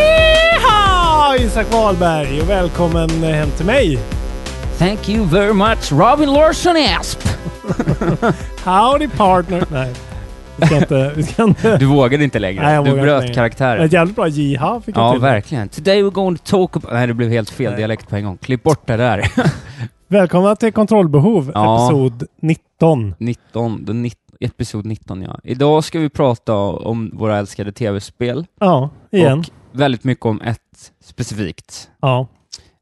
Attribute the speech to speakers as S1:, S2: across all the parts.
S1: Yeehaw! Isak Wahlberg och välkommen hem till mig.
S2: Thank you very much Robin Larsson Asp!
S1: Howdy partner. Nej, vi ska inte... Vi ska inte.
S2: Du vågade inte längre.
S1: Nej, jag
S2: du
S1: vågar
S2: bröt
S1: inte.
S2: karaktären.
S1: Ett jävligt bra jiha fick jag
S2: Ja,
S1: till.
S2: verkligen. Today we're going to talk about... Nej, det blev helt fel dialekt på en gång. Klipp bort det där.
S1: Välkomna till Kontrollbehov,
S2: Ja.
S1: episod 19.
S2: 19, den 19, episod 19 ja. Idag ska vi prata om våra älskade tv-spel.
S1: Ja, igen.
S2: Och väldigt mycket om ett specifikt.
S1: Ja.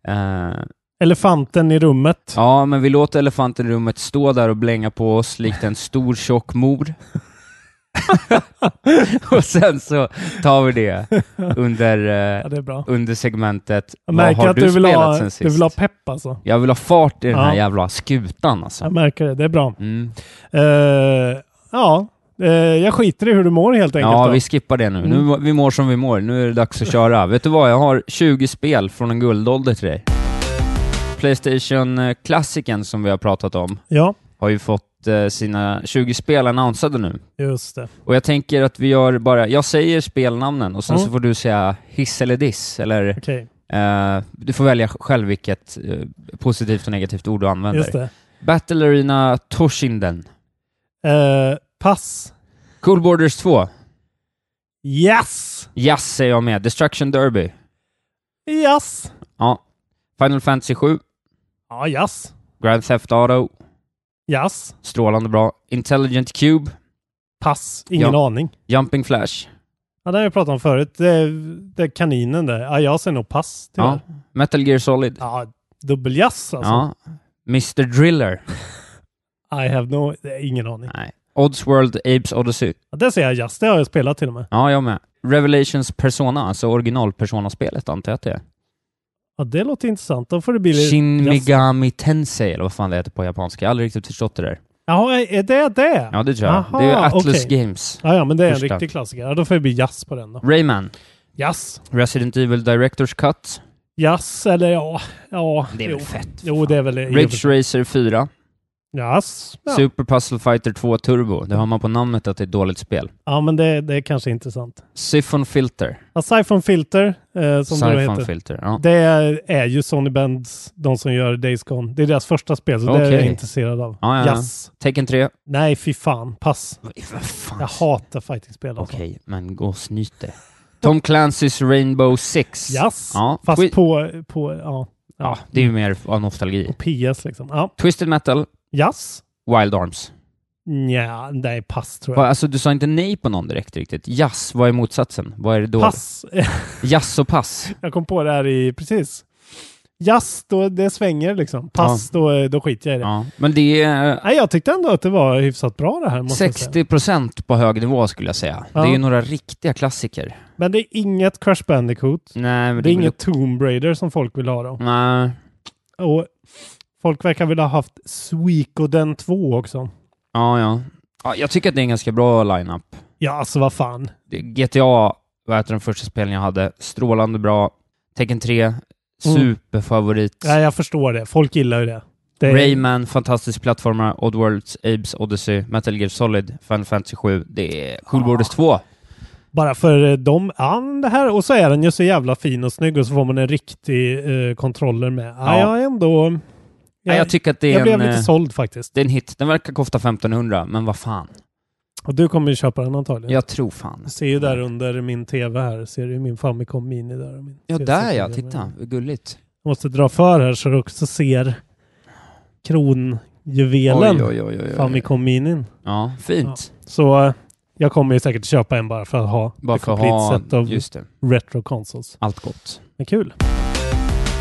S2: Eh,
S1: Elefanten i rummet.
S2: ja, men vi låter elefanten i rummet stå där och blänga på oss likt en stor tjock mor. och sen så tar vi det under, eh,
S1: Ja, det är bra.
S2: under segmentet
S1: Jag
S2: Vad
S1: märker
S2: har
S1: att
S2: du,
S1: du vill,
S2: spelat
S1: ha,
S2: sen
S1: du
S2: sist?
S1: vill ha pepp alltså.
S2: Jag vill ha fart i den här
S1: Ja.
S2: jävla skutan alltså.
S1: Jag märker det. Det är bra.
S2: Mm.
S1: Eh, ja, Eh, jag skiter i hur du mår helt enkelt.
S2: Ja,
S1: då. Mm.
S2: vi skippar det nu. nu. Vi mår som vi mår. Nu är det dags att köra. Vet du vad? Jag har 20 spel från en guldålder till dig. Playstation-klassiken som vi har pratat om
S1: Ja,
S2: har ju fått eh, sina 20 spel annonsade nu.
S1: just det.
S2: Och jag tänker att vi gör bara... Jag säger spelnamnen och sen
S1: Mm.
S2: så får du säga hiss eller diss, eller...
S1: Okej,
S2: eh, du får välja själv vilket eh, positivt och negativt ord du använder.
S1: just det.
S2: Battle Arena Toshinden.
S1: Eh, pass.
S2: Cool Borders 2.
S1: Yes!
S2: Jazz säger jag med. Destruction Derby.
S1: Yes!
S2: Ja. Final Fantasy 7.
S1: Ja, yes.
S2: Grand Theft Auto.
S1: Yes.
S2: Strålande bra. Intelligent Cube.
S1: Pass. Ingen aning.
S2: Jumping Flash.
S1: Ja, det har jag pratat om förut. Det, det är kaninen där. Ja, jag säger nog pass
S2: Ja.
S1: tyvärr.
S2: Metal Gear Solid.
S1: Ja, dubbel yes alltså.
S2: Ja. Mr Driller.
S1: I have no... det är Ingen aning.
S2: Nej. Oddsworld Apes Odyssey.
S1: Ja, det säger jag yes. Det har jag spelat till och med.
S2: Ja, jag med. Revelations Persona, alltså original Persona-spelet antar jag att det är.
S1: Ja, det låter intressant. Då får det bli... lite-
S2: Shin
S1: yes.
S2: Megami Tensei, eller vad fan det heter på japanska. Jag har aldrig riktigt förstått det där.
S1: Jaha, är det det?
S2: Ja, det tror jag.
S1: Aha,
S2: det är ju Atlus
S1: okej.
S2: Games.
S1: Ja, ja, men det är en
S2: Första.
S1: riktig klassiker. Ja, då får det bli jazz på den då.
S2: Rayman.
S1: Jazz.
S2: Resident Evil Directors Cut.
S1: Jazz eller ja... Ja,
S2: Det är
S1: jo.
S2: väl fett? för
S1: Jo,
S2: fan.
S1: det är väl...
S2: Ridge Racer 4.
S1: Jazz. Ja.
S2: Super Puzzle Fighter 2 Turbo. Det har man på namnet att det är ett dåligt spel.
S1: Ja, men det, det är kanske intressant.
S2: Siphon Filter.
S1: Ja, Siphon Filter, eh, som det
S2: Siphon
S1: heter.
S2: Filter, ja.
S1: Det är ju Sony Bands, de som gör Days Gone. Det är deras första spel, så det är jag
S2: Okej.
S1: intresserad av.
S2: Ja, ja, ja.
S1: Jazz.
S2: Tecken 3.
S1: Nej, fy fan. Pass.
S2: Vad vad fan?
S1: Jag hatar fightingspel alltså.
S2: Okej, men gåsnyte. Tom Clancy's Rainbow Six.
S1: Jazz.
S2: Ja.
S1: Fast
S2: Twi-
S1: på, på, ja,
S2: ja, det är ju mer av nostalgi.
S1: PS liksom. Ja.
S2: Twisted Metal,
S1: Jazz.
S2: Wild Arms.
S1: Nja, nej, pass tror
S2: Va,
S1: jag.
S2: alltså, du sa inte nej på någon direkt riktigt. Jazz, vad är motsatsen? Vad är det då?
S1: Pass.
S2: Jazz och pass.
S1: jag kom på det här i, precis. Jazz, då det svänger liksom. Pass, då, då skiter jag i det.
S2: Ja. Men det är eh,
S1: Nej, jag tyckte ändå att det var hyfsat bra det här, måste jag säga.
S2: 60% på hög nivå skulle jag säga.
S1: Ja.
S2: Det är ju några riktiga klassiker.
S1: Men det är inget Crash Bandicoot.
S2: Nej, men
S1: Det är
S2: väl-
S1: inget Tomb Raider som folk vill ha då.
S2: Nej.
S1: Och folk verkar vilja ha haft Suikoden 2 också.
S2: Ja, ja. ja. Jag tycker att det är en ganska bra line-up.
S1: Ja, alltså vad fan.
S2: Det- GTA var ett av de första spelen jag hade.
S1: Mm.
S2: Strålande bra. Tekken 3, superfavorit.
S1: Nej, jag förstår det. Folk gillar ju det. Det är-
S2: Rayman, fantastisk plattformar, Oddworlds, Apes, Odyssey, Metal Gear Solid, Final Fantasy 7. Det är Coolboards 2.
S1: Bara för eh, dem, ja, men det här. Och så är den ju så jävla fin och snygg och så får man en riktig eh, kontroller med. Ja,
S2: Ja.
S1: jag är ändå... Jag,
S2: Ja, jag tycker att det
S1: jag
S2: är,
S1: blev
S2: en,
S1: lite
S2: eh,
S1: såld faktiskt.
S2: det är en hit. Den verkar kosta 1500, men vad fan.
S1: Och du kommer ju köpa den antagligen.
S2: Jag tror fan.
S1: Du ser ju där under min tv här, ser du min Famicom Mini där. och Min
S2: Ja,
S1: TV
S2: där ja.
S1: med.
S2: Titta, vad gulligt.
S1: Jag måste dra för här så du också ser kronjuvelen
S2: Oj, oj, oj, oj, oj.
S1: Famicom Minin.
S2: Ja, fint.
S1: Så eh, jag kommer ju säkert köpa en bara för att ha
S2: Bara
S1: ett
S2: för att
S1: komplett
S2: ha...
S1: set av
S2: Just det.
S1: retro consoles.
S2: Allt gott.
S1: Men kul.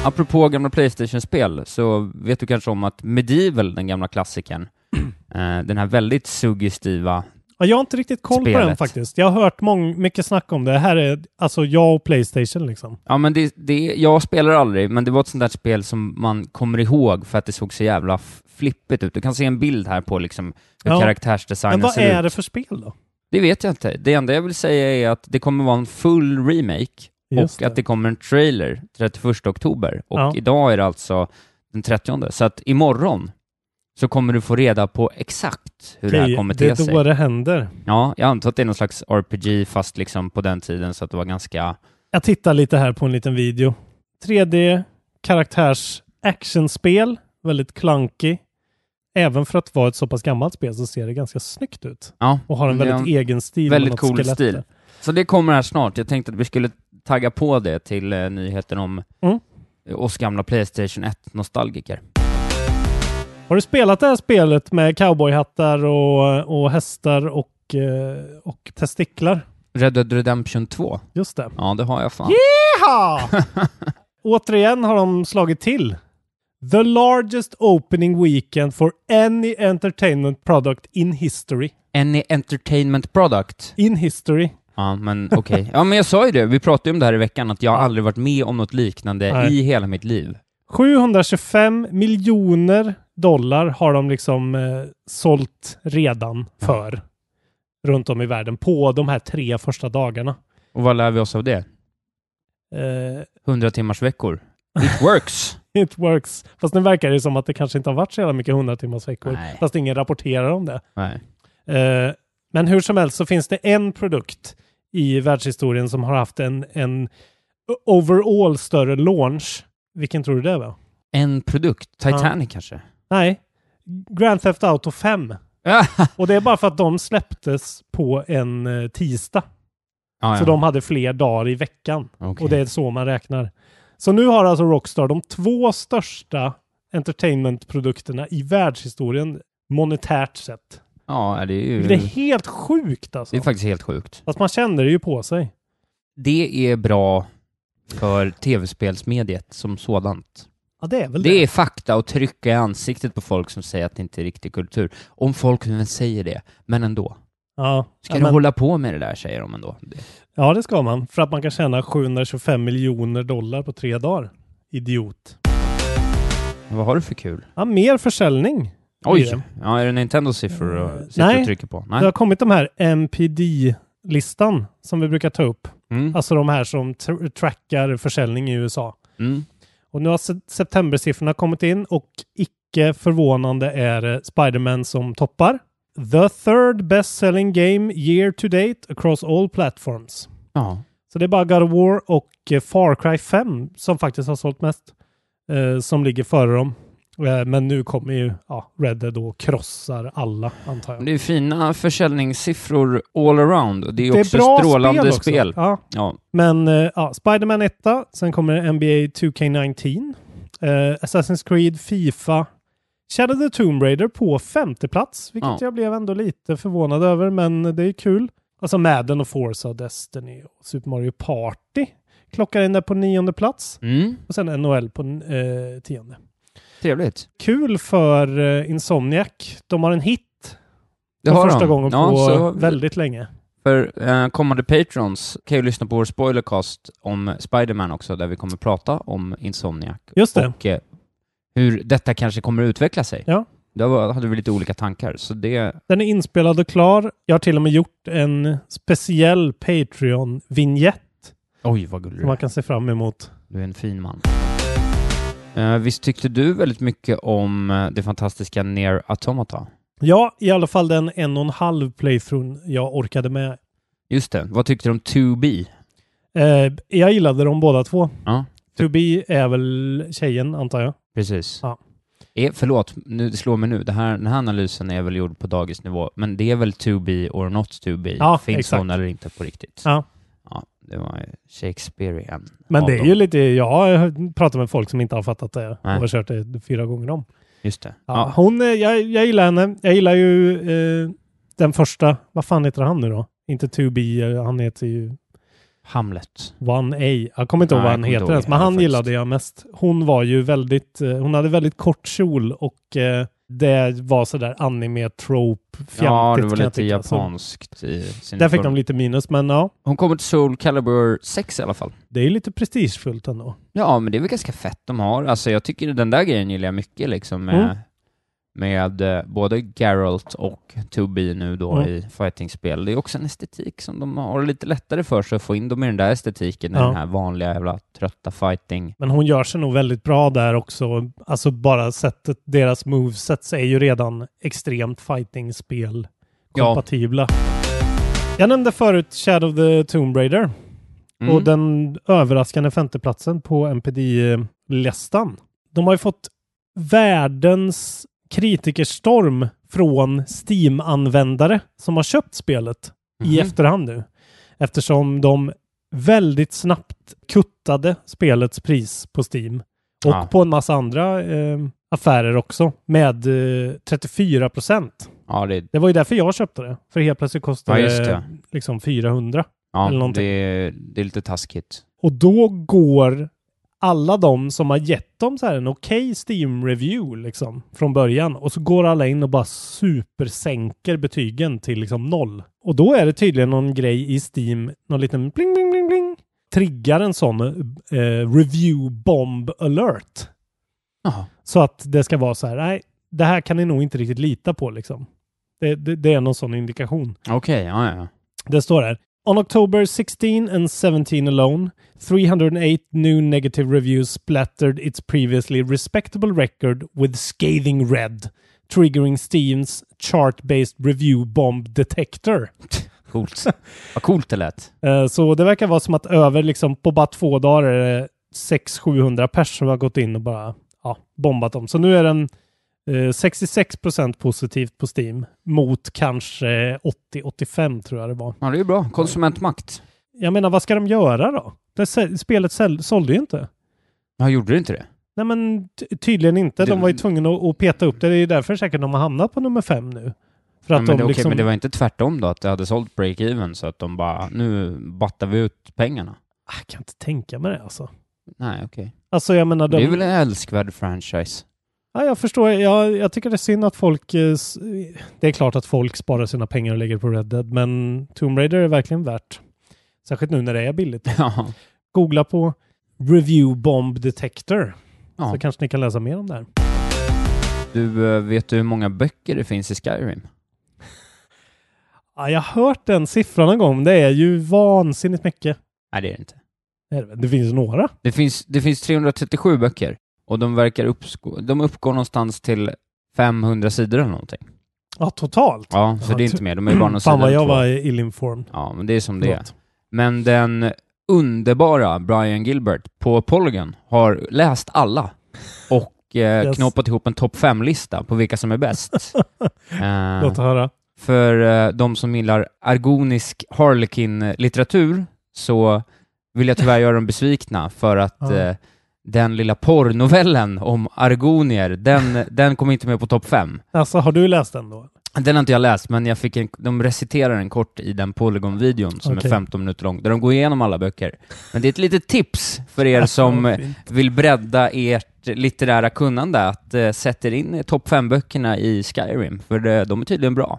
S2: Apropå gamla Playstation-spel så vet du kanske om att Medieval, den gamla klassikern, eh, den här väldigt suggestiva...
S1: Ja, jag har inte riktigt koll på den
S2: Spelet.
S1: faktiskt. Jag har hört mång- mycket snack om det. Det här är alltså jag och Playstation liksom.
S2: Ja, men det, det, jag spelar aldrig, men det var ett sånt där spel som man kommer ihåg för att det såg så jävla f- flippigt ut. Du kan se en bild här på liksom hur
S1: Ja. Men
S2: karaktärsdesignen
S1: vad
S2: ser ut.
S1: är det för spel då?
S2: Det vet jag inte. Det enda jag vill säga är att det kommer vara en full remake
S1: Just
S2: och att det kommer en trailer 31 oktober. Och
S1: Ja.
S2: idag är det alltså den 30. Så att imorgon så kommer du få reda på exakt hur det här
S1: Okej,
S2: kommer
S1: det
S2: till
S1: är då
S2: sig.
S1: det händer.
S2: Ja, jag antar att det är någon slags RPG fast liksom på den tiden så att det var ganska...
S1: Jag tittar lite här på en liten video. 3D, karaktärs actionspel, väldigt clunky. Även för att vara ett så pass gammalt spel så ser det ganska snyggt ut.
S2: Ja,
S1: Och har en
S2: det är
S1: väldigt egen stil. med
S2: väldigt
S1: något
S2: cool
S1: skelett
S2: stil.
S1: där.
S2: Så det kommer här snart. Jag tänkte att vi skulle tagga på det till eh, nyheten om
S1: Mm.
S2: oss gamla Playstation 1-nostalgiker.
S1: Har du spelat det här spelet med cowboyhattar och, och hästar och, eh, och testiklar?
S2: Red Dead Redemption 2.
S1: Just det.
S2: Ja, det har jag fan.
S1: Jaha! Återigen har de slagit till. The largest opening weekend for any entertainment product in history.
S2: Any Entertainment Product.
S1: In history.
S2: Ja, men okej. Ja, men jag sa ju det. Vi pratade ju om det här i veckan, att jag har aldrig varit med om något liknande
S1: Nej.
S2: i hela mitt liv.
S1: 725 miljoner dollar har de liksom eh, sålt redan för runt om i världen på de här tre första dagarna.
S2: Och vad lär vi oss av det?
S1: Eh,
S2: 100 timmars veckor. It works!
S1: it works. Fast nu verkar det som att det kanske inte har varit så jävla mycket 100 timmars veckor.
S2: Nej.
S1: Fast ingen rapporterar om det.
S2: Nej.
S1: Eh, men hur som helst så finns det en produkt i världshistorien som har haft en, en overall större launch. Vilken tror du det var?
S2: En produkt. Titanic kanske?
S1: Nej, Grand Theft Auto 5.
S2: Ja,
S1: Och det är bara för att de släpptes på en eh, tisdag.
S2: ja.
S1: Så de hade fler dagar i veckan.
S2: Okej.
S1: Och det är så man räknar. Så nu har alltså Rockstar de två största entertainmentprodukterna i världshistorien monetärt sett.
S2: ja, det är ju...
S1: Det är helt sjukt alltså.
S2: Mm. Det är faktiskt helt sjukt.
S1: Fast man känner det ju på sig.
S2: Det är bra för tv-spelsmediet som sådant.
S1: Ja, det är väl det.
S2: Det är fakta och trycka i ansiktet på folk som säger att det inte är riktig kultur. Om folk nu säger det, men ändå.
S1: Ja.
S2: Ska
S1: ja,
S2: du
S1: men,
S2: hålla på med det där, säger de ändå. Det-
S1: ja, det ska man. För att man kan tjäna 725 miljoner dollar på tre dagar. Idiot.
S2: Vad har du för kul?
S1: Ja, mer försäljning. blir det.
S2: Oj! Ja, är det Nintendo-siffror
S1: Eh,
S2: och sitter
S1: nej.
S2: och trycker på?
S1: Det
S2: Nej.
S1: har kommit de här MPD-listan som vi brukar ta upp.
S2: Mm.
S1: Alltså de här som tr- trackar försäljning i USA.
S2: Mm.
S1: Och nu har se- septembersiffrorna kommit in och icke förvånande är det Spider-Man som toppar. The third best selling game year to date across all platforms.
S2: Ja.
S1: Så det är bara God of War och eh, Far Cry 5 som faktiskt har sålt mest. Eh, som ligger före dem. Eh, men nu kommer ju ja, Red Dead och krossar alla antar jag.
S2: Det är fina försäljningssiffror all around. och Det är
S1: Det
S2: också strålande
S1: också.
S2: spel.
S1: Ja,
S2: Ja.
S1: Men eh, ja, Spider-Man 1, sen kommer NBA 2K19, eh, Assassin's Creed, Fifa, Shadow the Tomb Raider på femte plats, vilket
S2: Ja.
S1: jag blev ändå lite förvånad över, men det är kul. Alltså Madden och Forza, Destiny och Super Mario Party klockar in där på nionde plats
S2: Mm.
S1: och sen NHL på eh, tionde.
S2: Trevligt.
S1: Kul för eh, Insomniac. De har en hit
S2: Det
S1: för
S2: har
S1: första
S2: de.
S1: gången
S2: ja,
S1: på
S2: så
S1: väldigt länge.
S2: För eh, kommande patrons kan ju lyssna på vår spoilercast om Spider-Man också, där vi kommer prata om Insomniac.
S1: Just det.
S2: Och eh, hur detta kanske kommer att utveckla sig.
S1: Ja.
S2: Där var, hade vi lite olika tankar, så det...
S1: Den är inspelad och klar. Jag har till och med gjort en speciell Patreon-vignett
S2: Oj, vad gullig
S1: som
S2: du
S1: man
S2: är.
S1: kan se fram emot.
S2: Du är en fin man. Eh, visst tyckte du väldigt mycket om eh, det fantastiska Near Automata?
S1: Ja, i alla fall den en och en halv playthrough jag orkade med.
S2: Just det. Vad tyckte du om 2B?
S1: Eh, jag gillade dem båda två.
S2: Ja.
S1: To be är väl tjejen, antar jag.
S2: Precis.
S1: Ja.
S2: Eh, förlåt, nu, det slår mig nu. Det här, den här analysen är väl gjord på dagisnivå, men det är väl to be or not to be?
S1: Ja,
S2: Finns
S1: exakt.
S2: hon eller inte på riktigt?
S1: Ja.
S2: Ja, det var ju Shakespearean.
S1: Men
S2: av
S1: det är
S2: dem.
S1: ju lite... Jag pratar med folk som inte har fattat det
S2: Nej.
S1: och har kört det fyra gånger om.
S2: Just det.
S1: Ja.
S2: Ja.
S1: Hon, eh, jag, jag gillar henne. Jag gillar ju eh, den första... Vad fan heter han nu då? Inte To be, eh, han heter ju
S2: Hamlet.
S1: One A. Jag kommer inte ihåg
S2: Nej,
S1: vad han
S2: jag kommer inte
S1: heter
S2: ihåg
S1: ens, men
S2: heller
S1: han
S2: faktiskt.
S1: gillade jag mest. Hon var ju väldigt... Eh, hon hade väldigt kort kjol och eh, det var sådär anime-trope-fjantigt.
S2: ja, det var
S1: kan jag
S2: lite
S1: tycka. Så
S2: japanskt i sin
S1: Där fick de
S2: form.
S1: lite minus, men ja.
S2: Hon kommer till Soul Calibur 6 i alla fall.
S1: Det är ju lite prestigefullt ändå.
S2: Ja, men det är väl ganska fett de har. Alltså jag tycker den där grejen gillar jag mycket liksom med,
S1: Mm.
S2: med eh, både Geralt och Tobi nu då
S1: Mm.
S2: i fightingspel. Det är också en estetik som de har lite lättare för sig att få in dem i den där estetiken än
S1: Ja.
S2: den här vanliga jävla trötta fighting.
S1: Men hon gör sig nog väldigt bra där också. Alltså bara sättet, deras movesets är ju redan extremt fighting-spel
S2: Ja.
S1: kompatibla. Jag nämnde förut Shadow of the Tomb Raider
S2: Mm.
S1: och den överraskande femteplatsen på NPD-listan. De har ju fått världens kritikerstorm från Steam-användare som har köpt spelet i
S2: Mhm.
S1: efterhand nu. Eftersom de väldigt snabbt kuttade spelets pris på Steam. Och
S2: Ja.
S1: på en massa andra eh, affärer också med eh, 34 procent.
S2: Ja, det,
S1: Det var ju därför jag köpte det. För helt plötsligt kostade
S2: ja, just
S1: det
S2: det.
S1: liksom 400.
S2: Ja,
S1: eller någonting.
S2: det, det är lite taskigt.
S1: Och då går alla de som har gett dem så här en okej Steam-review liksom från början och så går alla in och bara supersänker betygen till liksom noll. Och då är det tydligen någon grej i Steam, någon liten bling bling bling bling triggar en sån eh, review bomb alert.
S2: Jaha.
S1: Så att det ska vara så här, nej, det här kan ni nog inte riktigt lita på liksom. Det, det, det är någon sån indikation.
S2: Okej, ja, ja, ja.
S1: Det står här. On October 16 and 17 alone, 308 new negative reviews splattered its previously respectable record with scathing red, triggering Steams chart-based review bomb detector.
S2: Coolt. Vad coolt det lät.
S1: Eh, Så det verkar vara som att över liksom på bara två dagar är det 600-700 pers som har gått in och bara ja, bombat dem. Så nu är den eh, 66 positivt på Steam mot kanske 80-85 tror jag det var.
S2: Ja, det är bra. Konsumentmakt.
S1: Jag menar, vad ska de göra då? Det, sä- spelet säl- sålde ju inte.
S2: Ja, gjorde det inte det?
S1: Nej, men ty- tydligen inte. De
S2: Det-
S1: var ju tvungna att, att peta upp det. Det är ju därför säkert de har hamnat på nummer fem nu. För
S2: Ja,
S1: att
S2: men,
S1: de
S2: det, okej,
S1: liksom...
S2: men det var inte tvärtom då, att det hade sålt break-even så att de bara, nu battar vi ut pengarna?
S1: Ah, Jag kan inte tänka mig det alltså.
S2: Nej, okej.
S1: Alltså jag menar,
S2: Det är
S1: de...
S2: väl en älskvärd franchise?
S1: ja, jag förstår. Jag, jag tycker det är synd att folk... eh, s- Det är klart att folk sparar sina pengar och lägger på Red Dead, men Tomb Raider är verkligen värt. Särskilt nu när det är billigt.
S2: Ja.
S1: Googla på Review Bomb Detector,
S2: ja.
S1: så kanske ni kan läsa mer om det här.
S2: Du, eh, vet du hur många böcker det finns i Skyrim?
S1: Ja, jag har hört den siffran en gång, men det är ju vansinnigt mycket.
S2: Nej, det är det inte.
S1: Det är det väl. Det finns några.
S2: Det finns, det finns 337 böcker och de verkar uppgå, de uppgår någonstans till 500 sidor eller någonting.
S1: Ja, totalt.
S2: Ja, så
S1: Ja,
S2: det är
S1: tu-
S2: inte mer. De är ju bara någon sida
S1: Fan vad
S2: eller
S1: jag
S2: två.
S1: var illinformed.
S2: Ja, men det är som det är.
S1: Förlåt.
S2: Men den underbara Brian Gilbert på Polygon har läst alla och eh,
S1: Yes.
S2: knoppat ihop en topp fem-lista på vilka som är bäst. Eh,
S1: Låt höra.
S2: för eh, de som gillar argonisk Harlequin-litteratur så vill jag tyvärr göra dem besvikna för att
S1: Ja.
S2: eh, den lilla porrnovellen om argonier, den, den kom inte med på topp fem.
S1: Alltså, har du läst den då?
S2: Den har inte jag läst, men jag fick en, de reciterar den kort i den Polygon-videon som
S1: Okej.
S2: är 15 minuter lång, där de går igenom alla böcker. Men det är ett litet tips för er som
S1: Ja,
S2: eh,
S1: Alltså, fint.
S2: vill bredda ert litterära kunnande, att eh, sätta in eh, topp fem böckerna i Skyrim, för eh, de är tydligen bra.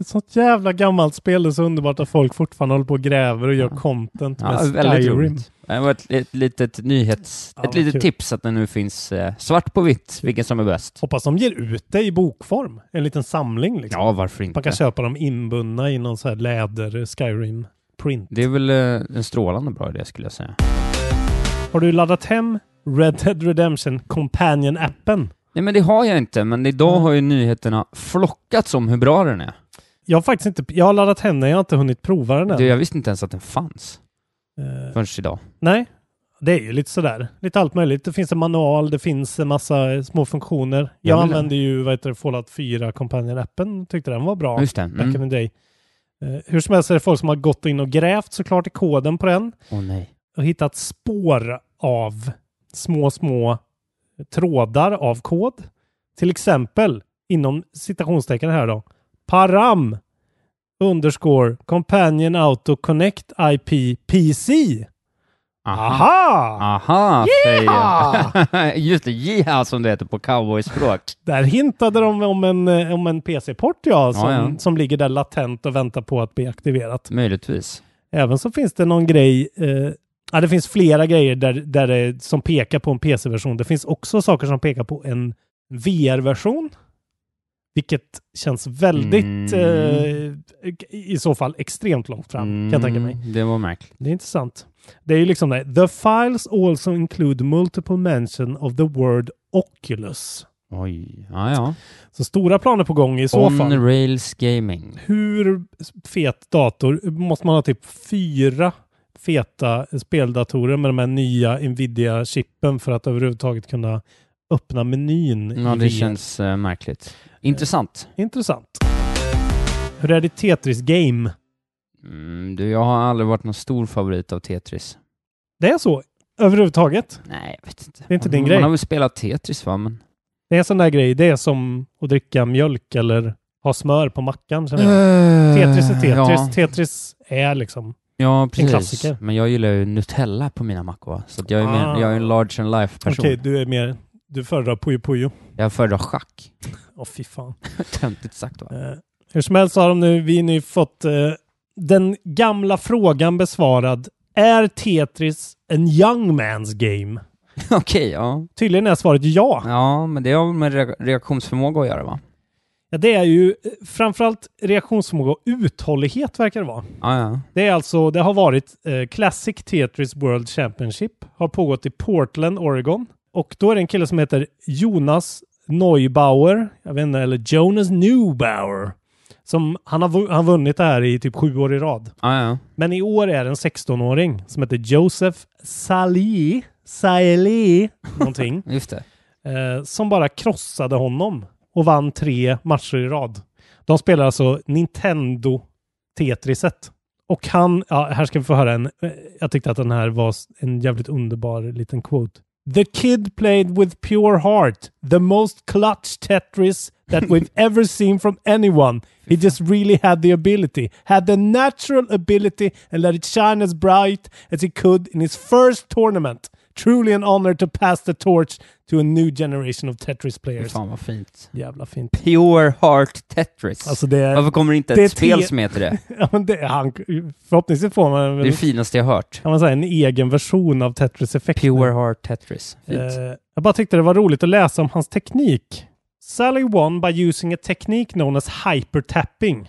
S1: Ett sånt jävla gammalt spel. Det är så underbart att folk fortfarande håller på och gräver och gör
S2: Ja.
S1: content
S2: Ja,
S1: med
S2: väldigt
S1: Skyrim.
S2: roligt. Det var ett, ett litet nyhets...
S1: Ja,
S2: ett
S1: vad
S2: litet
S1: kul.
S2: tips att det nu finns eh, svart på vitt, vilken som är bäst.
S1: Hoppas de ger ut det i bokform. En liten samling liksom.
S2: Ja, varför
S1: Man kan
S2: inte?
S1: köpa dem inbundna i någon så här läder Skyrim-print.
S2: Det är väl eh, en strålande bra idé skulle jag säga.
S1: Har du laddat hem Red Dead Redemption Companion-appen.
S2: Nej men det har jag inte, men idag har ju nyheterna flockats om hur bra den är.
S1: Jag har faktiskt inte... Jag har laddat hem den, jag har inte hunnit prova den än.
S2: Du, jag visste inte ens att den fanns
S1: Eh,
S2: förrän idag.
S1: nej. Det är ju lite sådär. Lite allt möjligt. Det finns en manual, det finns en massa eh, små funktioner. Jag
S2: vill-
S1: använde ju vad heter det, Fallout 4 Companion-appen. Tyckte den var bra.
S2: Just det.
S1: Back
S2: Mm.
S1: in the day. Eh, hur som helst är det folk som har gått in och grävt såklart i koden på den.
S2: Åh nej.
S1: och hittat spår av små, små trådar av kod. Till exempel inom citationstecken här då. Param underscore companion auto connect IP PC.
S2: Aha!
S1: Aha!
S2: Aha, säger jag. Just det, yeah som det heter på cowboyspråk.
S1: Där hintade de om en, eh, om en PC-port ja, som,
S2: ja.
S1: som ligger där latent och väntar på att bli aktiverat.
S2: Möjligtvis.
S1: Även så finns det någon grej, eh, ja det finns flera grejer där, där det, som pekar på en PC-version. Det finns också saker som pekar på en VR-version. Vilket känns väldigt,
S2: Mm.
S1: eh, i så fall extremt långt fram kan jag tänka mig.
S2: Mm, Det var märkligt.
S1: Det är intressant. Det är ju liksom det. The files also include multiple mention of the word Oculus.
S2: Oj. Ja, ja.
S1: Så stora planer på gång i så
S2: On
S1: fall.
S2: Rails Gaming.
S1: hur fet dator måste man ha typ fyra feta speldatorer med de här nya Nvidia-chippen för att överhuvudtaget kunna öppna menyn
S2: Ja,
S1: i
S2: det
S1: VR?
S2: känns eh, märkligt. Intressant.
S1: Intressant. Hur är ditt Tetris-game?
S2: Mm, du, jag har aldrig varit någon stor favorit av Tetris.
S1: Det är så överhuvudtaget.
S2: Nej, jag vet inte.
S1: Det är inte din
S2: man,
S1: grej.
S2: Man har väl spelat Tetris va? Men...
S1: Det är en sån där grej. Det är som att dricka mjölk eller ha smör på mackan. känner jag. Tetris är Tetris.
S2: Eh, Ja,
S1: Tetris är liksom...
S2: ja precis.
S1: klassiker.
S2: Men jag gillar ju Nutella på mina mackor. va? Så att jag, är mer,
S1: Ah.
S2: jag är en large and life-person.
S1: Okej, du är mer... Du föredrar Puyo Puyo.
S2: Jag föredrar schack.
S1: Åh, fy fan.
S2: Töntigt sagt va?
S1: Eh, hur som helst så har de nu, vi nu fått eh, den gamla frågan besvarad. Är Tetris en young man's game?
S2: Okej, ja.
S1: Tydligen är svaret ja.
S2: Ja, men det har väl med re- reaktionsförmåga att göra va?
S1: ja. Det är ju eh, framförallt reaktionsförmåga och uthållighet verkar det vara.
S2: Ja, ja.
S1: Det är alltså, det har varit eh, Classic Tetris World Championship. Har pågått i Portland, Oregon. Och då är det en kille som heter Jonas Neubauer, jag vet inte, eller Jonas Neubauer. Som, han har vu- han har vunnit det här i typ sju år i rad.
S2: ja, ja.
S1: Men i år är det en 16-åring som heter Joseph Salih, Salih någonting,
S2: Just det.
S1: eh, som bara krossade honom och vann tre matcher i rad. De spelar alltså Nintendo Tetriset. Och han, ja, här ska vi få höra en, eh, jag tyckte att den här var s- en jävligt underbar liten quote. The kid played with pure heart, the most clutch Tetris that we've ever seen from anyone. He just really had the ability, had the natural ability and let it shine as bright as he could in his first tournament. Truly an honor to pass the torch to a new generation of Tetris players.
S2: Fan vad fint.
S1: Jävla fint.
S2: Pure Heart Tetris.
S1: Alltså det är...
S2: Varför kommer det inte
S1: det är
S2: ett spel
S1: te-
S2: som heter det?
S1: Ja, men det, han, förhoppningsvis får man
S2: Det är det
S1: väl
S2: finaste jag hört.
S1: kan man säga, en egen version av Tetris Effect.
S2: Pure Heart Tetris. Fint.
S1: Eh, jag bara tyckte det var roligt att läsa om hans teknik. Sally won by using a technique known as hypertapping,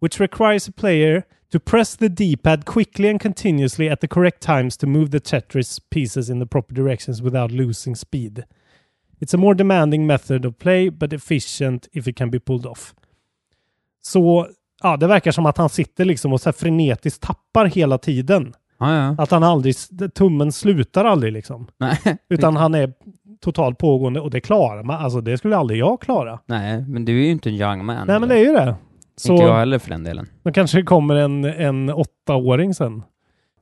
S1: which requires a player to press the D-pad quickly and continuously at the correct times to move the Tetris pieces in the proper directions without losing speed. It's a more demanding method of play, but efficient if it can be pulled off. Så ja, det verkar som att han sitter liksom och så här frenetiskt tappar hela tiden.
S2: ja, ja.
S1: Att han aldrig, tummen slutar aldrig liksom.
S2: Nej.
S1: Utan han är totalt pågående och det klarar man. Alltså det skulle aldrig jag klara.
S2: Nej, men du är ju inte en young man.
S1: Nej men det är ju det.
S2: Inte jag
S1: Så
S2: heller för den delen.
S1: då kanske det kommer en, en åttaåring sen.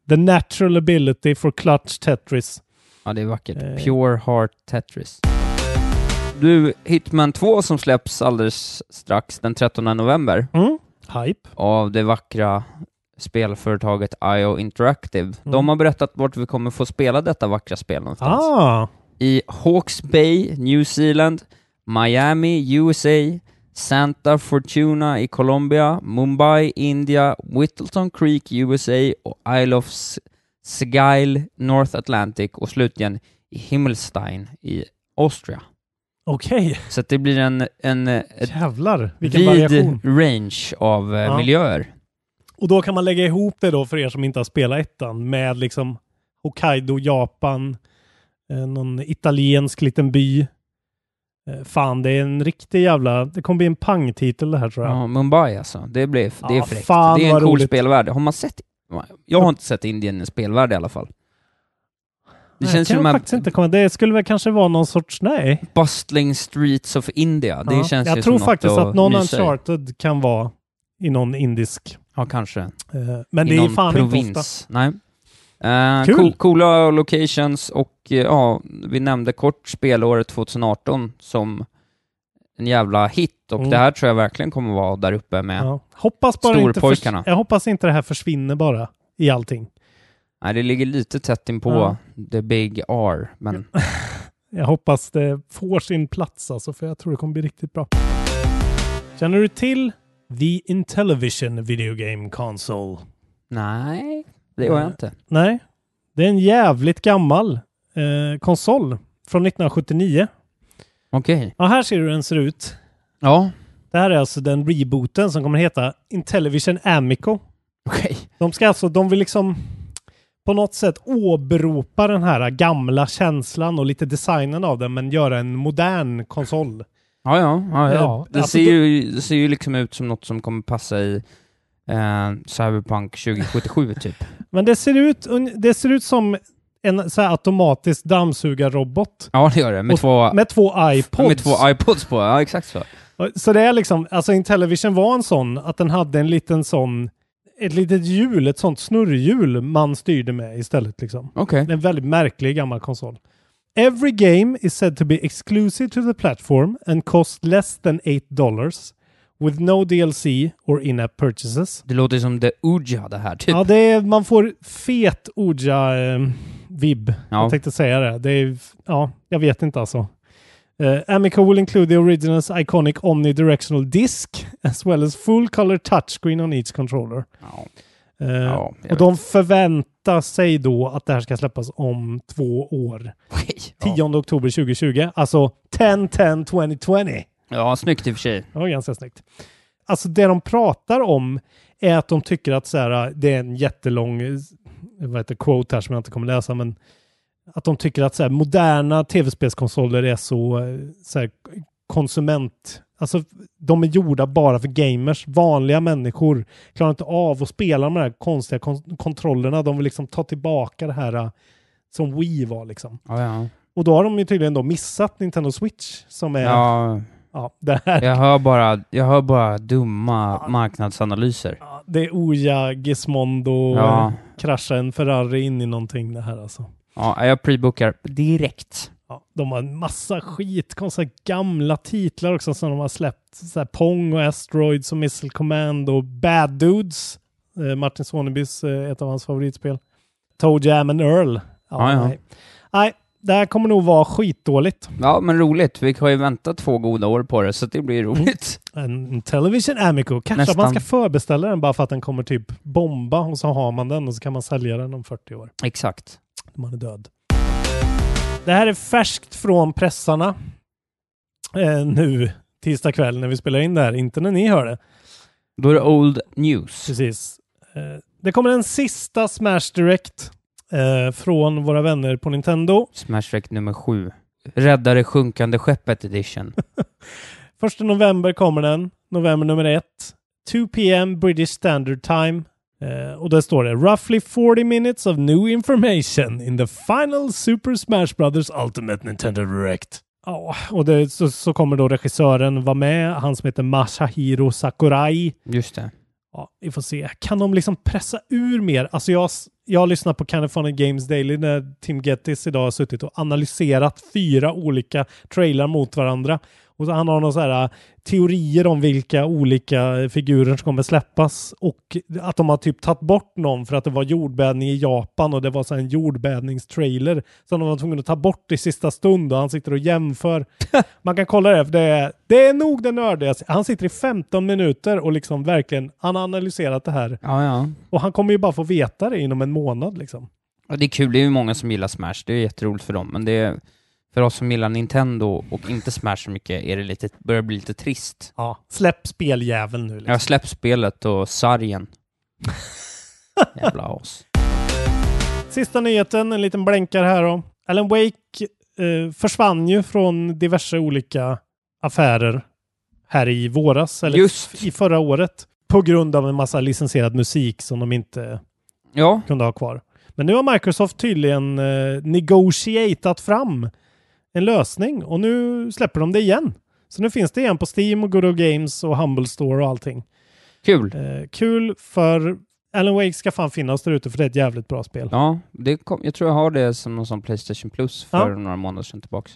S1: The natural ability for clutch Tetris.
S2: Ja, det är vackert.
S1: Eh.
S2: Pure Heart Tetris. Du, Hitman 2 som släpps alldeles strax, den 13 november,
S1: Mm. Hype.
S2: av det vackra spelföretaget IO Interactive. De har berättat vart vi kommer få spela detta vackra spel någonstans.
S1: Mm. Ah,
S2: I Hawks Bay, New Zealand, Miami, USA, Santa Fortuna i Colombia, Mumbai, India, Whittleton Creek, USA och Isle of S- Skyle, North Atlantic och slutligen i Himmelstein i Austria.
S1: okej.
S2: Så att det blir en, en eh, ett
S1: Jävlar vilken
S2: vid
S1: variation.
S2: range av eh,
S1: Ja.
S2: miljöer.
S1: Och då kan man lägga ihop det då för er som inte har spelat ettan med liksom Hokkaido, Japan, eh, någon italiensk liten by. Eh, fan, det är en riktig jävla... Det kommer bli en pangtitel det här tror jag.
S2: Ja, Mumbai alltså. Det, blev, det är
S1: Ja,
S2: fräckt.
S1: fan
S2: det är en
S1: vad
S2: cool
S1: roligt.
S2: spelvärld. Har man sett... Jag har inte sett Indien i spelvärld i alla fall. Det
S1: Nej,
S2: känns ju
S1: jag
S2: de
S1: kan
S2: här
S1: faktiskt inte komma. Det skulle väl kanske vara någon sorts... Nej.
S2: bustling streets of India. Det
S1: Ja.
S2: känns
S1: jag
S2: ju
S1: tror
S2: som
S1: faktiskt
S2: något
S1: att någon
S2: mysa i.
S1: Uncharted kan vara i någon indisk.
S2: Ja, kanske.
S1: eh, Men
S2: I
S1: det är
S2: någon
S1: fan
S2: provins.
S1: inte ofta.
S2: Nej. Eh,
S1: Kul.
S2: co- coola locations och eh, ja, vi nämnde kort spelåret 2018 som en jävla hit och
S1: Mm.
S2: det här tror jag verkligen kommer vara där uppe med.
S1: Ja. Hoppas bara inte
S2: Storpojkarna.
S1: förs- jag hoppas inte det här försvinner bara i allting.
S2: Nej, det ligger lite tätt inpå
S1: Ja.
S2: the big R, men
S1: Jag hoppas det får sin plats alltså, för jag tror det kommer bli riktigt bra. Känner du till The Intellivision Video Game Console?
S2: nej, det gör jag
S1: Eh,
S2: inte.
S1: Nej, det är en jävligt gammal eh, konsol från 1979.
S2: Okej.
S1: Ja, här ser du hur den ser ut.
S2: Ja,
S1: Det här är alltså den rebooten som kommer heta Intellivision Amico.
S2: okej.
S1: De ska alltså, de vill liksom på något sätt åberopa den här gamla känslan och lite designen av den men göra en modern konsol.
S2: Ja, ja, ja. ja.
S1: Ja,
S2: Det,
S1: alltså
S2: ser
S1: då-
S2: ju, det ser ju liksom ut som något som kommer passa i eh, Cyberpunk 2077 typ.
S1: Men det ser ut, un- det ser ut som en så här automatisk dammsugarrobot
S2: Ja, det gör det. Med
S1: Och-
S2: två...
S1: med två iPods.
S2: Med två iPods på, ja exakt så.
S1: Så det är liksom, alltså Intellivision var en sån att den hade en liten sån, ett litet hjul, ett sånt snurrhjul man styrde med istället liksom.
S2: Okej.
S1: En väldigt märklig gammal konsol. Every game is said to be exclusive to the platform and cost less than 8 dollars with no DLC or in-app purchases.
S2: Det låter som The Uja det här, typ.
S1: Ja, det är, man får fet Oja-vibb.
S2: Ja.
S1: Jag tänkte säga det. det är, ja, jag vet inte alltså. Eh, Amico will include the original's iconic omnidirectional disc as well as full color touchscreen on each controller.
S2: Ja.
S1: Eh,
S2: Ja, jag
S1: och de förväntar sig då att det här ska släppas om två år.
S2: Okej.
S1: 10
S2: Ja.
S1: oktober 2020. Alltså 10-10-2020.
S2: ja, snyggt i och för sig.
S1: Det var ganska snyggt. Alltså det de pratar om är att de tycker att så här, äh, det är en jättelång eh, vad heter, quote här som jag inte kommer läsa, men att de tycker att så här, moderna tv-spelskonsoler är så, eh, så här, konsument... Alltså de är gjorda bara för gamers. Vanliga människor klarar inte av att spela med de här konstiga kon- kontrollerna. De vill liksom ta tillbaka det här eh, som Wii var liksom.
S2: Ja, ja.
S1: Och då har de ju tydligen då missat Nintendo Switch som är... Ja.
S2: ja
S1: det här.
S2: jag, hör bara, jag hör bara dumma marknadsanalyser.
S1: Ja, Det är Oja, Gizmondo,
S2: Ja,
S1: krascha en Ferrari in i någonting det här alltså.
S2: ja jag prebookar direkt.
S1: Ja, de har en massa skit, konstiga gamla titlar också som de har släppt. Så här Pong och Asteroids och Missile Command och Bad Dudes. Eh, Martin Sonebys, eh, ett av hans favoritspel. Toe Jam and Earl.
S2: Ja, ja.
S1: Nej. nej, det här kommer nog vara skitdåligt.
S2: Ja, men roligt. Vi har ju väntat två goda år på det, så det blir roligt.
S1: En Television Amico. Kanske att man ska
S2: Nästan.
S1: förbeställa den bara för att den kommer typ bomba och så har man den och så kan man sälja den om 40 år.
S2: Exakt.
S1: när man är död. Det här är färskt från pressarna eh, nu tisdag kväll när vi spelar in det här, inte när ni hör det.
S2: Då är det old news.
S1: Precis. Eh, det kommer en sista Smash Direct eh, från våra vänner på Nintendo.
S2: Smash Rec nummer sju. Rädda det sjunkande skeppet edition.
S1: Första november kommer den, november nummer ett. 2 p.m. British Standard Time. Eh, och där står det “Roughly 40 minutes of new information in the final Super Smash Brothers Ultimate Nintendo Direct”. Ja, och det, så, så kommer då regissören vara med, han som heter Masahiro Sakurai.
S2: Just det.
S1: Ja, vi får se. Kan de liksom pressa ur mer? Alltså jag, s- jag lyssnar på California Games Daily när Tim Gettys idag har suttit och analyserat fyra olika trailrar mot varandra. Och så han har några så här äh, teorier om vilka olika eh, figurer som kommer släppas och att de har typ tagit bort någon för att det var jordbävning i Japan och det var så här en jordbävningstrailer som de var tvungna att ta bort i sista stund och han sitter och jämför. Man kan kolla det, för det är, det är nog den nördigaste. Han sitter i 15 minuter och liksom verkligen, han har analyserat det här
S2: Ja, ja.
S1: och han kommer ju bara få veta det inom en månad liksom.
S2: Ja, det är kul. Det är ju många som gillar Smash. Det är jätteroligt för dem. Men det är, för oss som gillar Nintendo och inte Smash så mycket är det lite, börjar bli lite trist.
S1: Ja. Släpp speljäveln nu. Liksom.
S2: Jag släppt spelet och sargen. Jävla as.
S1: Sista nyheten, en liten blänkare här då. Alan Wake eh, försvann ju från diverse olika affärer här i våras, eller
S2: Just.
S1: i förra året, på grund av en massa licensierad musik som de inte
S2: Ja,
S1: kunde ha kvar. Men nu har Microsoft tydligen eh, negotiatat fram en lösning och nu släpper de det igen. Så nu finns det igen på Steam och Good Old Games och Humble Store och allting.
S2: kul.
S1: Eh, kul för Alan Wake ska fan finnas där ute för det är ett jävligt bra spel.
S2: Ja, det kom, jag tror jag har det som någon sån Playstation Plus för
S1: Ja.
S2: några månader sedan tillbaks.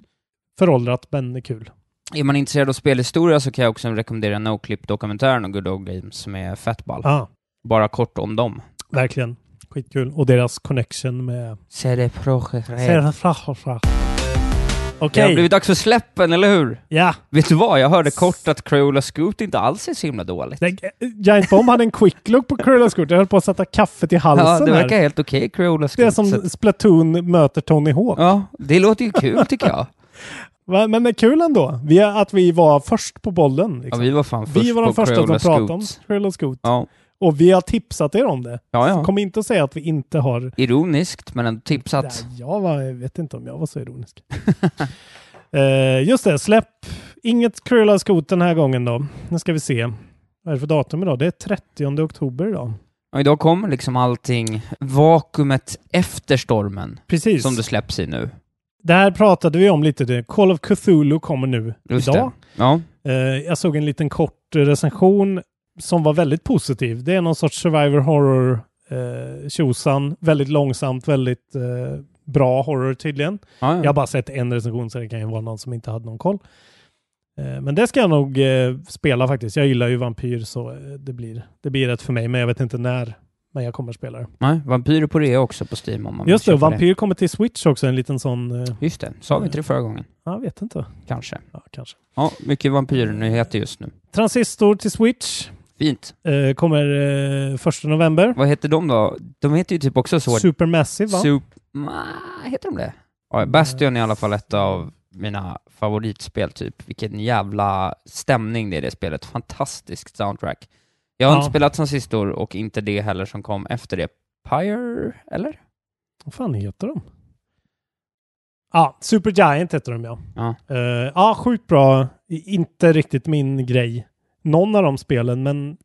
S1: Föråldrat men kul.
S2: Är man intresserad av spelhistoria så kan jag också rekommendera NoClip-dokumentären om Good Old Games som är fett ball.
S1: Ja,
S2: Bara kort om dem.
S1: verkligen. Skitkul. Och deras connection med...
S2: CD Projekt Red.
S1: Serafrafra.
S2: Det har
S1: Okej,
S2: blivit dags för släppen, eller hur?
S1: ja.
S2: Vet du vad? Jag hörde kort att Crayola Scoot inte alls är så himla dåligt.
S1: Den- Giant Bomb hade en quick look på Cruella Scoot. Jag höll på att sätta kaffet i halsen
S2: Ja, det
S1: här.
S2: verkar helt okej, Crayola Scoot.
S1: Alltså, Det är som
S2: så att-
S1: Splatoon möter Tony Hawk.
S2: Ja, det låter ju kul tycker jag.
S1: Va? Men det är kul ändå. Vi, är- att vi var först på bollen.
S2: Ja,
S1: Liksom.
S2: vi var fan
S1: vi,
S2: först
S1: var de
S2: på
S1: första som
S2: Crayola
S1: pratade om
S2: Scoot.
S1: Cruella Scoot.
S2: Ja,
S1: Och vi har tipsat er om det.
S2: ja. ja.
S1: Kom inte och säga att vi inte har...
S2: Ironiskt, men ändå tipsat.
S1: Nej, jag, var, jag vet inte om jag var så ironisk. eh, just det, släpp inget Cruella Scoot den här gången då. Nu ska vi se. Vad är det för datum idag? Det är 30 oktober idag.
S2: Och idag kommer liksom allting, vakuumet efter stormen,
S1: Precis.
S2: som det släpps i nu.
S1: Det här pratade vi om lite. Det- Call of Cthulhu kommer nu
S2: Just
S1: idag.
S2: det. Ja.
S1: Eh, jag såg en liten kort recension som var väldigt positiv. Det är någon sorts survivor horror eh, tjosan. Väldigt långsamt, väldigt eh, bra horror tydligen.
S2: Ja, ja.
S1: Jag har bara sett en recension så det kan ju vara någon som inte hade någon koll. Eh, men det ska jag nog eh, spela faktiskt. Jag gillar ju vampyr så eh, det blir, det blir rätt för mig men jag vet inte när. Men jag kommer spela det.
S2: Nej, Vampyr på rea också på Steam om man vill
S1: Just det, och
S2: köpa
S1: Vampyr kommer till Switch också. En liten sån... Eh,
S2: Just det, sa vi inte det förra gången?
S1: jag vet inte.
S2: Kanske.
S1: Ja, kanske.
S2: Ja, mycket vampyrnyheter just nu.
S1: Transistor till Switch
S2: Fint.
S1: eh, kommer eh, 1 november.
S2: Vad heter de då? De heter ju typ också så...
S1: Supermassive va?
S2: Sup... Ma, Heter de det? Ja, Bastion är i alla fall ett av mina favoritspel typ. Vilken jävla stämning det är i det spelet. Fantastiskt soundtrack. Jag har
S1: Ja.
S2: inte spelat Transistor och inte det heller som kom efter det. Pyre, eller?
S1: Vad fan heter de? Ja, ah, Supergiant heter de ja.
S2: Ja.
S1: Eh, Ja, sjukt bra. I- Inte riktigt min grej. Någon av de spelen, men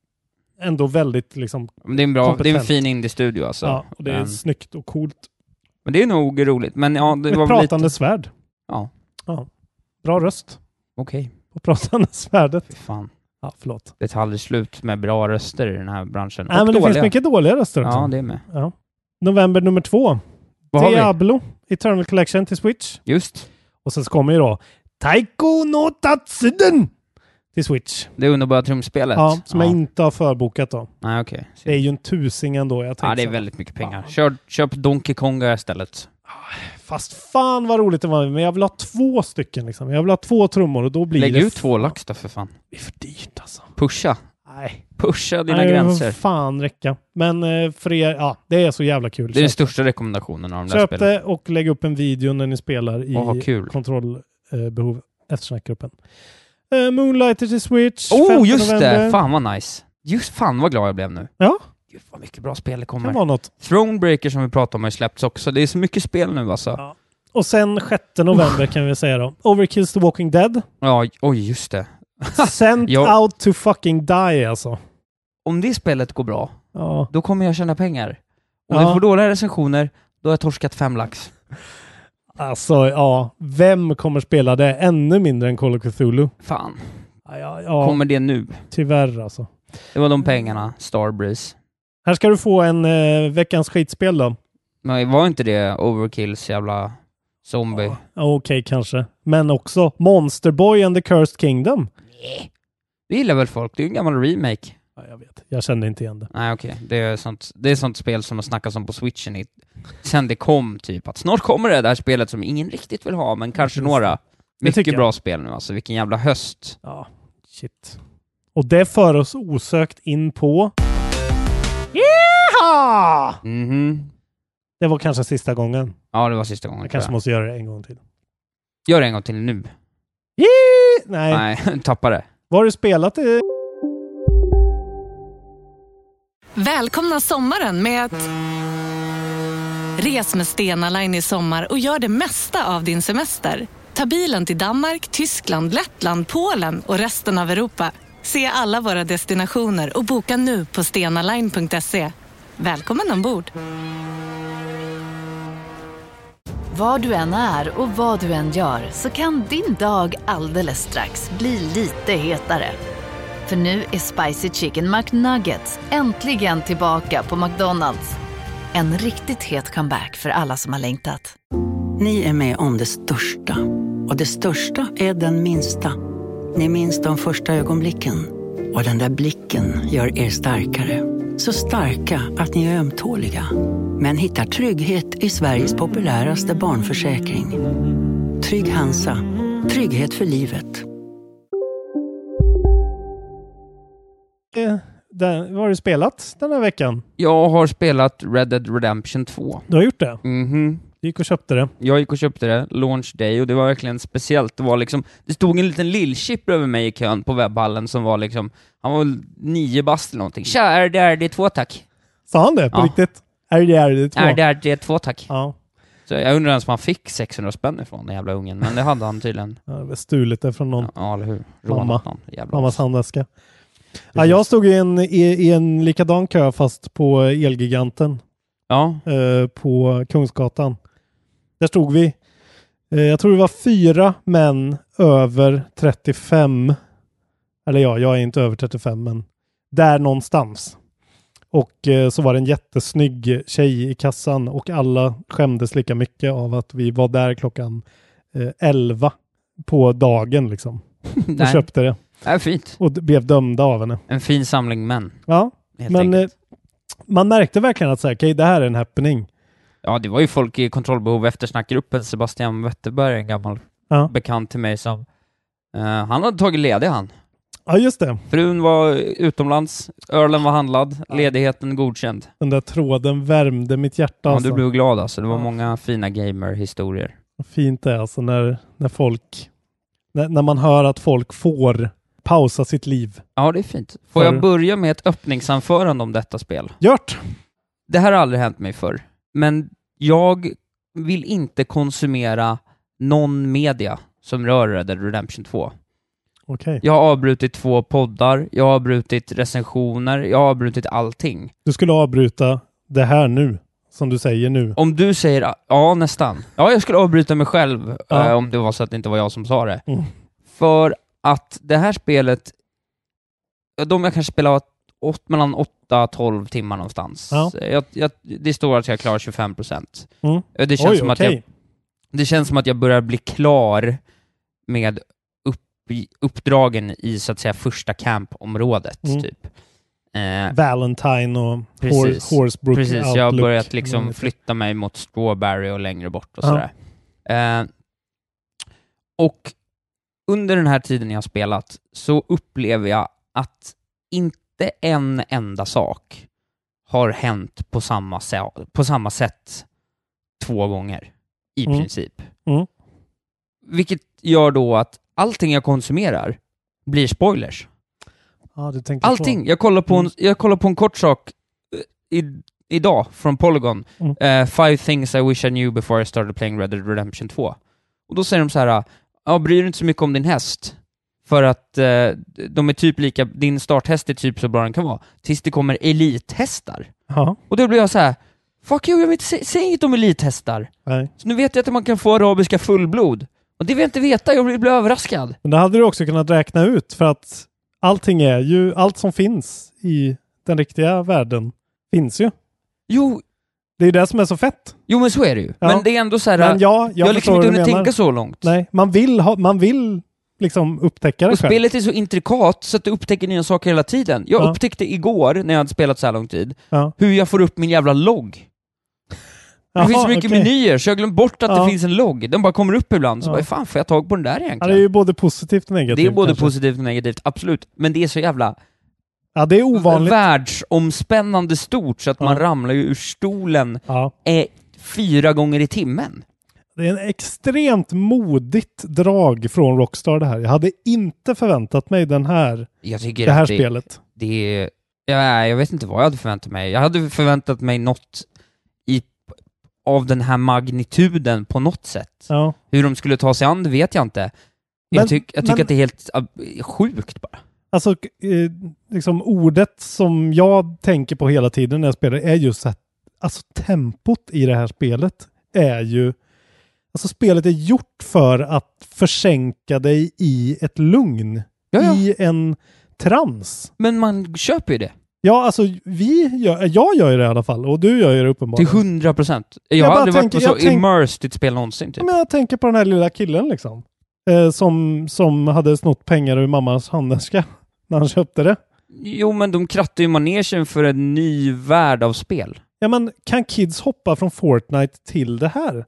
S1: ändå väldigt liksom,
S2: Men Det är en, bra, det är en
S1: Kompetent.
S2: fin indie-studio alltså.
S1: ja, och det är
S2: men,
S1: snyggt och coolt.
S2: men det är nog roligt. Men ja, det
S1: Ett
S2: var väl
S1: pratande
S2: lite...
S1: svärd.
S2: Ja.
S1: Bra röst
S2: Okej,
S1: på pratande svärdet.
S2: fy fan.
S1: Ja, förlåt.
S2: det tar aldrig slut med bra röster i den här branschen.
S1: Nej,
S2: och
S1: men det
S2: dåliga.
S1: finns mycket dåliga röster också.
S2: Ja, det är med.
S1: Ja. November nummer två.
S2: Vad har vi?
S1: Diablo Eternal Collection till Switch.
S2: Just.
S1: Och sen så kommer ju då Taiko no Tatsuden till Switch.
S2: Det underbara trumspelet.
S1: Ja, som jag inte har förbokat då.
S2: Nej, okej.
S1: Det är ju en tusing ändå. Jag
S2: Ja,
S1: tänkte
S2: det är
S1: så.
S2: väldigt mycket pengar. Kör, köp Donkey Konga istället.
S1: Fast fan vad roligt det var. Men jag vill ha två stycken liksom. Jag vill ha två trummor och då blir
S2: Lägg
S1: det...
S2: ut två lax då för fan.
S1: Det är för dyrt alltså.
S2: Pusha.
S1: Nej.
S2: Pusha dina
S1: Nej, det får
S2: gränser.
S1: fan räcka. Men eh, för er, ja, det är så jävla kul.
S2: Det är den
S1: Köp,
S2: största rekommendationen av de där
S1: köp
S2: spelen.
S1: det och lägg upp en video när ni spelar i eh,
S2: Och ha kul.
S1: kontrollbehov eftersnackgruppen. Eh, Moonlighter till Switch.
S2: Oh,
S1: 5
S2: just
S1: november.
S2: det! Fan vad nice. Just fan vad glad jag blev nu.
S1: Ja.
S2: Gud vad mycket bra spel det
S1: Det kan
S2: kommer.
S1: vara något.
S2: Thronebreaker som vi pratade om har ju släppts också. Det är så mycket spel nu alltså.
S1: Ja. Och sen 6 november kan vi säga då. Overkills The Walking Dead.
S2: Ja, oj, just det.
S1: Sent
S2: Ja.
S1: out to fucking die alltså.
S2: Om det spelet går bra,
S1: Ja.
S2: då kommer jag tjäna pengar. Om
S1: Ja.
S2: jag får dåliga recensioner, då har jag torskat fem lax.
S1: Alltså ja, vem kommer spela det ännu mindre än Call of Cthulhu?
S2: Fan,
S1: Ja, ja, ja
S2: kommer det nu?
S1: tyvärr alltså.
S2: Det var de pengarna, Starbreeze.
S1: Här ska du få en eh, veckans skitspel då.
S2: Men var inte det Overkills jävla zombie?
S1: Ja, Okej kanske. Men också Monster Boy and the Cursed Kingdom.
S2: Det gillar väl folk? Det är ju en gammal remake.
S1: Ja, jag vet. Jag kände inte igen det.
S2: Nej okej, det är sånt, det är sånt spel som har snackats om på switchen i, sen det kom typ att snart kommer det där spelet som ingen riktigt vill ha, men kanske
S1: Just det.
S2: några.
S1: tycker
S2: Mycket
S1: jag.
S2: bra spel nu alltså, vilken jävla höst.
S1: Ja, shit. Och det för oss osökt in på... Yeehaw!
S2: Mhm.
S1: Det var kanske sista gången.
S2: Ja, det var sista gången.
S1: Jag
S2: tror
S1: kanske måste göra det en gång till.
S2: jag. Gör det en gång till nu.
S1: Yee! Nej.
S2: Nej, tappa det.
S1: Vad har du spelat? eh?
S3: Välkomna sommaren med att...
S4: Res med Stena Line i sommar och gör det mesta av din semester. Ta bilen till Danmark, Tyskland, Lettland, Polen och resten av Europa. Se alla våra destinationer och boka nu på stenaline.se. Välkommen ombord!
S5: Var du än är och vad du än gör så kan din dag alldeles strax bli lite hetare. För nu är Spicy Chicken McNuggets äntligen tillbaka på McDonalds. En riktigt het comeback för alla som har längtat.
S6: Ni är med om det största. Och det största är den minsta. Ni minns de första ögonblicken. Och den där blicken gör er starkare. Så starka att ni är ömtåliga. Men hittar trygghet i Sveriges populäraste barnförsäkring. Trygg Hansa. Trygghet för livet.
S1: Eh, där, vad har du spelat den här veckan?
S2: Jag har spelat Red Dead Redemption 2.
S1: Du har gjort det?
S2: Mhm.
S1: Du gick och köpte det.
S2: Jag gick och köpte det, launch day, och det var verkligen speciellt. Det var liksom, det stod en liten lillchip över mig i kön på webbhallen som var liksom, han var väl nio bast eller någonting. Tja, är det RDR2 tack?
S1: Sa han det på
S2: Ja.
S1: riktigt? Är det är det två?
S2: RDR2 tack?
S1: Ja.
S2: Så jag undrar ens om han fick 600 spänn ifrån den jävla ungen, men det hade han tydligen.
S1: Jag har väl stulit det från någon.
S2: Ja, eller hur?
S1: Mamma.
S2: Rånat någon. Jävla
S1: Mammas handväska. Ja, jag stod i en, i, i en likadan kö fast på Elgiganten
S2: Ja,
S1: eh, på Kungsgatan. Där stod vi. Eh, jag tror det var fyra män över 35. Eller ja, jag är inte över 35 men där någonstans. Och eh, så var det en jättesnygg tjej i kassan och alla skämdes lika mycket av att vi var där klockan eh, 11 på dagen liksom. Och
S2: nej.
S1: köpte det.
S2: Det är fint.
S1: och d- blev dömda av henne.
S2: En fin samling män,
S1: Ja,
S2: helt
S1: men eh,
S2: enkelt.
S1: man märkte verkligen att så här, okej, det här är en happening.
S2: Ja, det var ju folk i kontrollbehov eftersnackgruppen. Sebastian Wetterberg, en gammal
S1: Ja.
S2: bekant till mig som... eh, han hade tagit ledig han.
S1: Ja, just det.
S2: Frun var utomlands, ölen var handlad, ledigheten godkänd.
S1: Den där tråden värmde mitt hjärta.
S2: Ja,
S1: alltså.
S2: du blev glad alltså. Det var
S1: Ja.
S2: många fina gamer-historier.
S1: Vad fint det är alltså när, när folk, när, när man hör att folk får pausa sitt liv.
S2: Ja, det är fint. Får
S1: För-
S2: jag börja med ett öppningsanförande om detta spel?
S1: Gjort!
S2: Det här har aldrig hänt mig förr, men jag vill inte konsumera någon media som rör Red Dead Redemption 2.
S1: Okej.
S2: Jag har avbrutit två poddar, jag har avbrutit recensioner, jag har avbrutit allting.
S1: Du skulle avbryta det här nu, som du säger nu.
S2: Om du säger ja, nästan. Ja, jag skulle avbryta mig själv
S1: Ja.
S2: eh, om det var så att det inte var jag som sa det.
S1: Mm.
S2: För att det här spelet, ja, de jag kanske spelar åt, mellan 8-12 timmar någonstans. Eh,
S1: Ja.
S2: Jag, jag, det står att jag klarar 25 procent. Eh,
S1: Mm.
S2: Det känns
S1: Oj,
S2: som att
S1: okej.
S2: jag det känns som att jag börjar bli klar med upp, uppdragen i så att säga första campområdet,
S1: Mm.
S2: typ. Eh,
S1: Valentine och
S2: Precis.
S1: Hor- Horsebrook
S2: precis, jag har
S1: Outlook.
S2: börjat liksom flytta mig mot Strawberry och längre bort och
S1: Ja.
S2: sådär. Eh, och under den här tiden jag har spelat så upplever jag att inte en enda sak har hänt på samma, sä- på samma sätt två gånger, i
S1: Mm.
S2: princip.
S1: Mm.
S2: Vilket gör då att allting jag konsumerar blir spoilers.
S1: Ja, du tänker så.
S2: Allting. Jag kollar på en,
S1: Mm.
S2: jag kollar på en kort sak eh, i, idag från Polygon.
S1: Mm.
S2: Eh, five things I wish I knew before I started playing Red Dead Redemption 2. Och då säger de så här, ja, bryr dig inte så mycket om din häst. För att eh, de är typ lika, din starthäst är typ så bra den kan vara. Tills det kommer elithästar.
S1: Ja,
S2: Och då blir jag så här, fuck you, jag vill inte, sä, säg inget om elithästar.
S1: nej.
S2: Så nu vet jag att man kan få arabiska fullblod. Och det vill jag inte veta, jag vill bli överraskad.
S1: Men det hade du också kunnat räkna ut för att allting är ju, allt som finns i den riktiga världen finns ju.
S2: Jo,
S1: Det är ju det som är så fett.
S2: jo men så är det ju.
S1: Ja.
S2: Men det är ändå så här...
S1: Men ja, jag,
S2: Jag, har liksom
S1: förstår vad
S2: inte hunnit
S1: du menar.
S2: tänka så långt.
S1: Nej, man vill, ha, man vill liksom upptäcka det
S2: och
S1: själv.
S2: spelet är så intrikat så att du upptäcker nya saker hela tiden. Jag
S1: Ja.
S2: upptäckte igår, när jag hade spelat så här lång tid,
S1: Ja.
S2: hur jag får upp min jävla logg. Det
S1: Jaha,
S2: finns så mycket
S1: okej.
S2: menyer så jag glömde bort att
S1: Ja.
S2: det finns en logg. Den bara kommer upp ibland, så
S1: Ja.
S2: bara, fan får jag tag på den där
S1: Ja,
S2: egentligen?
S1: det är ju både positivt och negativt.
S2: det är både
S1: kanske.
S2: positivt och negativt, absolut. Men det är så jävla
S1: Ja, det är ovanligt.
S2: världsomspännande stort så att man
S1: Ja.
S2: ramlar ju ur stolen
S1: Ja,
S2: eh, fyra gånger i timmen.
S1: det är en extremt modigt drag från Rockstar det här. Jag hade inte förväntat mig den här,
S2: Jag tycker
S1: det här
S2: att det,
S1: spelet.
S2: det är... Ja, jag vet inte vad jag hade förväntat mig. Jag hade förväntat mig något i av den här magnituden på något sätt.
S1: Ja.
S2: Hur de skulle ta sig an det vet jag inte.
S1: Men-
S2: jag, tyck, jag tycker
S1: men-
S2: att det är helt ab- sjukt bara.
S1: Alltså, eh, liksom ordet som jag tänker på hela tiden när jag spelar är just att alltså tempot i det här spelet är ju... Alltså spelet är gjort för att försänka dig i ett lugn,
S2: Ja, ja.
S1: i en trans.
S2: Men man köper ju det.
S1: Ja, alltså vi gör, jag gör ju det i alla fall och du gör ju det uppenbarligen.
S2: Till hundra procent. Jag,
S1: Jag
S2: har
S1: bara
S2: aldrig
S1: tänker-
S2: varit så
S1: jag tänk-
S2: immersed i ett spel någonsin.
S1: Ja,
S2: Typ.
S1: Men jag tänker på den här lilla killen liksom. Eh, som, som hade snott pengar ur mammas handväska när han köpte det.
S2: Jo, men de krattar ju manegen för en ny värld av spel.
S1: Ja men kan kids hoppa från Fortnite till det här?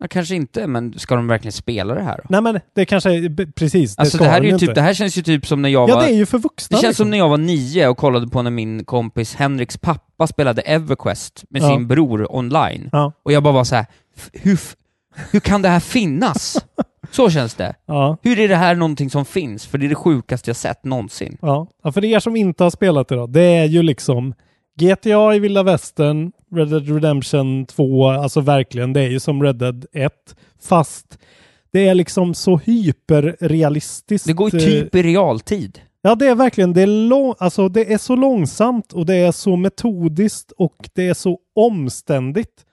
S2: Ja, kanske inte, men ska de verkligen spela det här då?
S1: Nej men det kanske är b- precis, det
S2: Alltså
S1: ska
S2: det här,
S1: de
S2: är ju typ,
S1: inte.
S2: det här känns ju typ som när jag
S1: Ja
S2: var...
S1: det är ju för
S2: Det
S1: vuxna.
S2: känns
S1: liksom.
S2: som när jag var nio och kollade på när min kompis Henriks pappa spelade Everquest med
S1: Ja.
S2: sin bror online.
S1: Ja.
S2: Och jag bara var så här, "F- hur, f- hur kan det här finnas? så känns det.
S1: Ja,
S2: Hur är det här någonting som finns? För det är det sjukaste jag sett någonsin.
S1: ja. ja, för er som inte har spelat det då. Det är ju liksom GTA i vilda västern, Red Dead Redemption 2, alltså verkligen, det är ju som Red Dead 1. Fast det är liksom så hyperrealistiskt.
S2: Det går ju
S1: eh,
S2: typ i realtid.
S1: Ja, det är verkligen, det är, lång, alltså, det är så långsamt och det är så metodiskt och det är så omständigt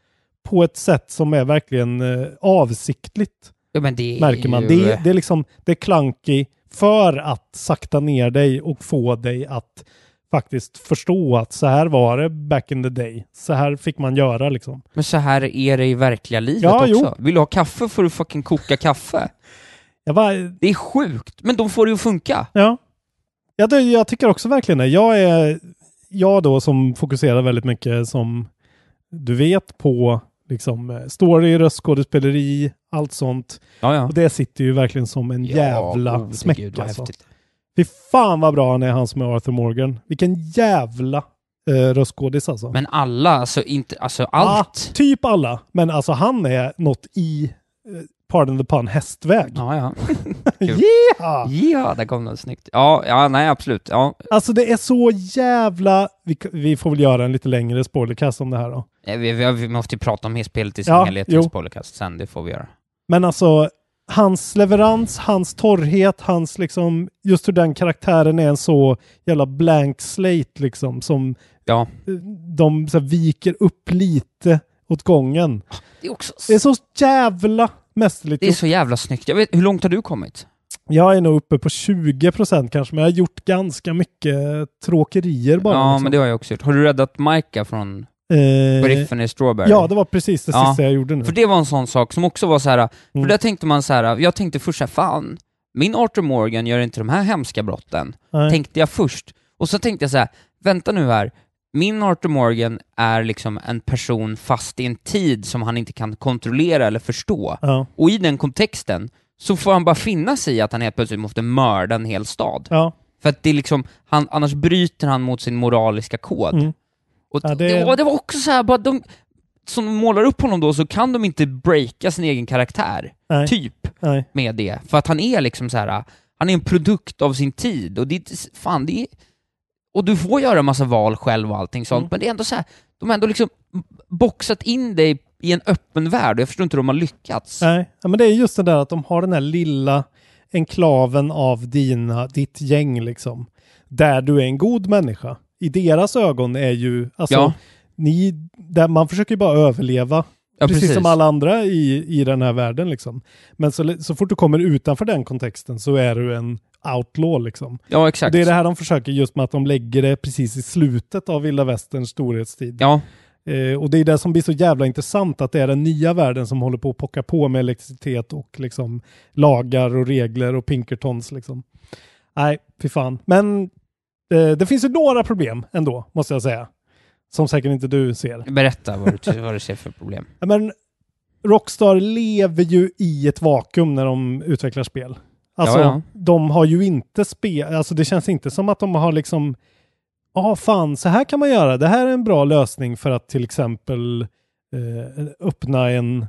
S1: på ett sätt som är verkligen eh, avsiktligt,
S2: Ja, men det är
S1: märker man.
S2: ju-
S1: Det, är- det är liksom, det är klanky för att sakta ner dig och få dig att faktiskt förstå att så här var det back in the day. Så här fick man göra liksom.
S2: Men så här är det i verkliga livet
S1: Ja,
S2: också. Vill du ha kaffe får du fucking koka kaffe.
S1: Jag var,
S2: Det är sjukt, men de får det ju att funka.
S1: Ja. ja det, jag tycker också verkligen det. Jag är jag då som fokuserar väldigt mycket som du vet på liksom eh, story, röstskådespeleri, allt sånt.
S2: Ja, ja.
S1: Och det sitter ju verkligen som en jävla
S2: oh,
S1: smäck.
S2: gud, vad
S1: alltså.
S2: häftigt.
S1: Fy fan vad bra han är, han som är Arthur Morgan. Vilken jävla eh, röstskådis alltså.
S2: Men alla, alltså inte, alltså allt.
S1: Ah, typ alla, men alltså han är något i, eh, pardon the pun, hästväg.
S2: Ja, ja. kul.
S1: Yeah!
S2: Ja, där kom den snyggt. Ja, ja, nej absolut. Ja.
S1: Alltså det är så jävla... Vi, vi får väl göra en lite längre spoilercast om det här då.
S2: Eh, Vi, vi, vi måste ju prata om spelet i sin
S1: Ja,
S2: helhet
S1: jo.
S2: i podcast sen, det får vi göra.
S1: Men alltså, hans leverans, hans torrhet, hans liksom... Just hur den karaktären är en så jävla blank slate liksom som
S2: Ja.
S1: eh, de så här, viker upp lite åt gången.
S2: Det är också...
S1: Det är så jävla mästerligt.
S2: Det är
S1: gjort.
S2: så jävla snyggt. Jag vet, hur långt har du kommit?
S1: Jag är nog uppe på 20 procent kanske, men jag har gjort ganska mycket tråkerier bara.
S2: ja,
S1: liksom.
S2: men det har jag också gjort. Har du räddat Micah från
S1: Eh,
S2: Griffin i Strawberry?
S1: ja, det var precis det
S2: Ja.
S1: sista jag gjorde nu.
S2: För det var en sån sak som också var så här.
S1: Mm.
S2: för där tänkte man så här. jag tänkte först så här, fan, min Arthur Morgan gör inte de här hemska brotten,
S1: Nej.
S2: tänkte jag först. Och så tänkte jag så här, vänta nu här, min Arthur Morgan är liksom en person fast i en tid som han inte kan kontrollera eller förstå.
S1: Ja,
S2: Och i den kontexten så får han bara finna sig i att han helt plötsligt måste mörda en hel stad.
S1: ja.
S2: För att det är liksom, han, annars bryter han mot sin moraliska kod.
S1: Mm.
S2: Och
S1: Ja, det-
S2: det... och det var också så här, bara de, som de målar upp honom då så kan de inte breaka sin egen karaktär,
S1: Nej.
S2: typ,
S1: Nej.
S2: med det. För att han är liksom så här, han är en produkt av sin tid och det är, inte- fan det är, och du får göra en massa val själv och allting sånt,
S1: Mm.
S2: men det är ändå så här, de har ändå liksom boxat in dig i en öppen värld och jag förstår inte hur de har lyckats.
S1: Nej, ja, men det är just det där att de har den här lilla enklaven av dina, ditt gäng liksom. Där du är en god människa. I deras ögon är ju, alltså,
S2: Ja.
S1: ni, där man försöker ju bara överleva.
S2: Ja,
S1: precis,
S2: precis.
S1: som alla andra i, i den här världen liksom. Men så, så fort du kommer utanför den kontexten så är du en outlaw liksom.
S2: Ja,
S1: Och
S2: exakt.
S1: det är det här de försöker just med att de lägger det precis i slutet av vilda västerns storhetstid.
S2: Ja,
S1: Eh, och det är det som blir så jävla intressant, att det är den nya världen som håller på att pocka på med elektricitet och liksom lagar och regler och Pinkertons liksom. Nej, fy fan. Men eh, det finns ju några problem ändå, måste jag säga. Som säkert inte du ser.
S2: berätta vad du, vad du ser för problem.
S1: Ja, Men Rockstar lever ju i ett vakuum när de utvecklar spel. Alltså,
S2: Ja, ja.
S1: de har ju inte spel, alltså det känns inte som att de har liksom, ja fan, så här kan man göra, det här är en bra lösning för att till exempel eh, öppna en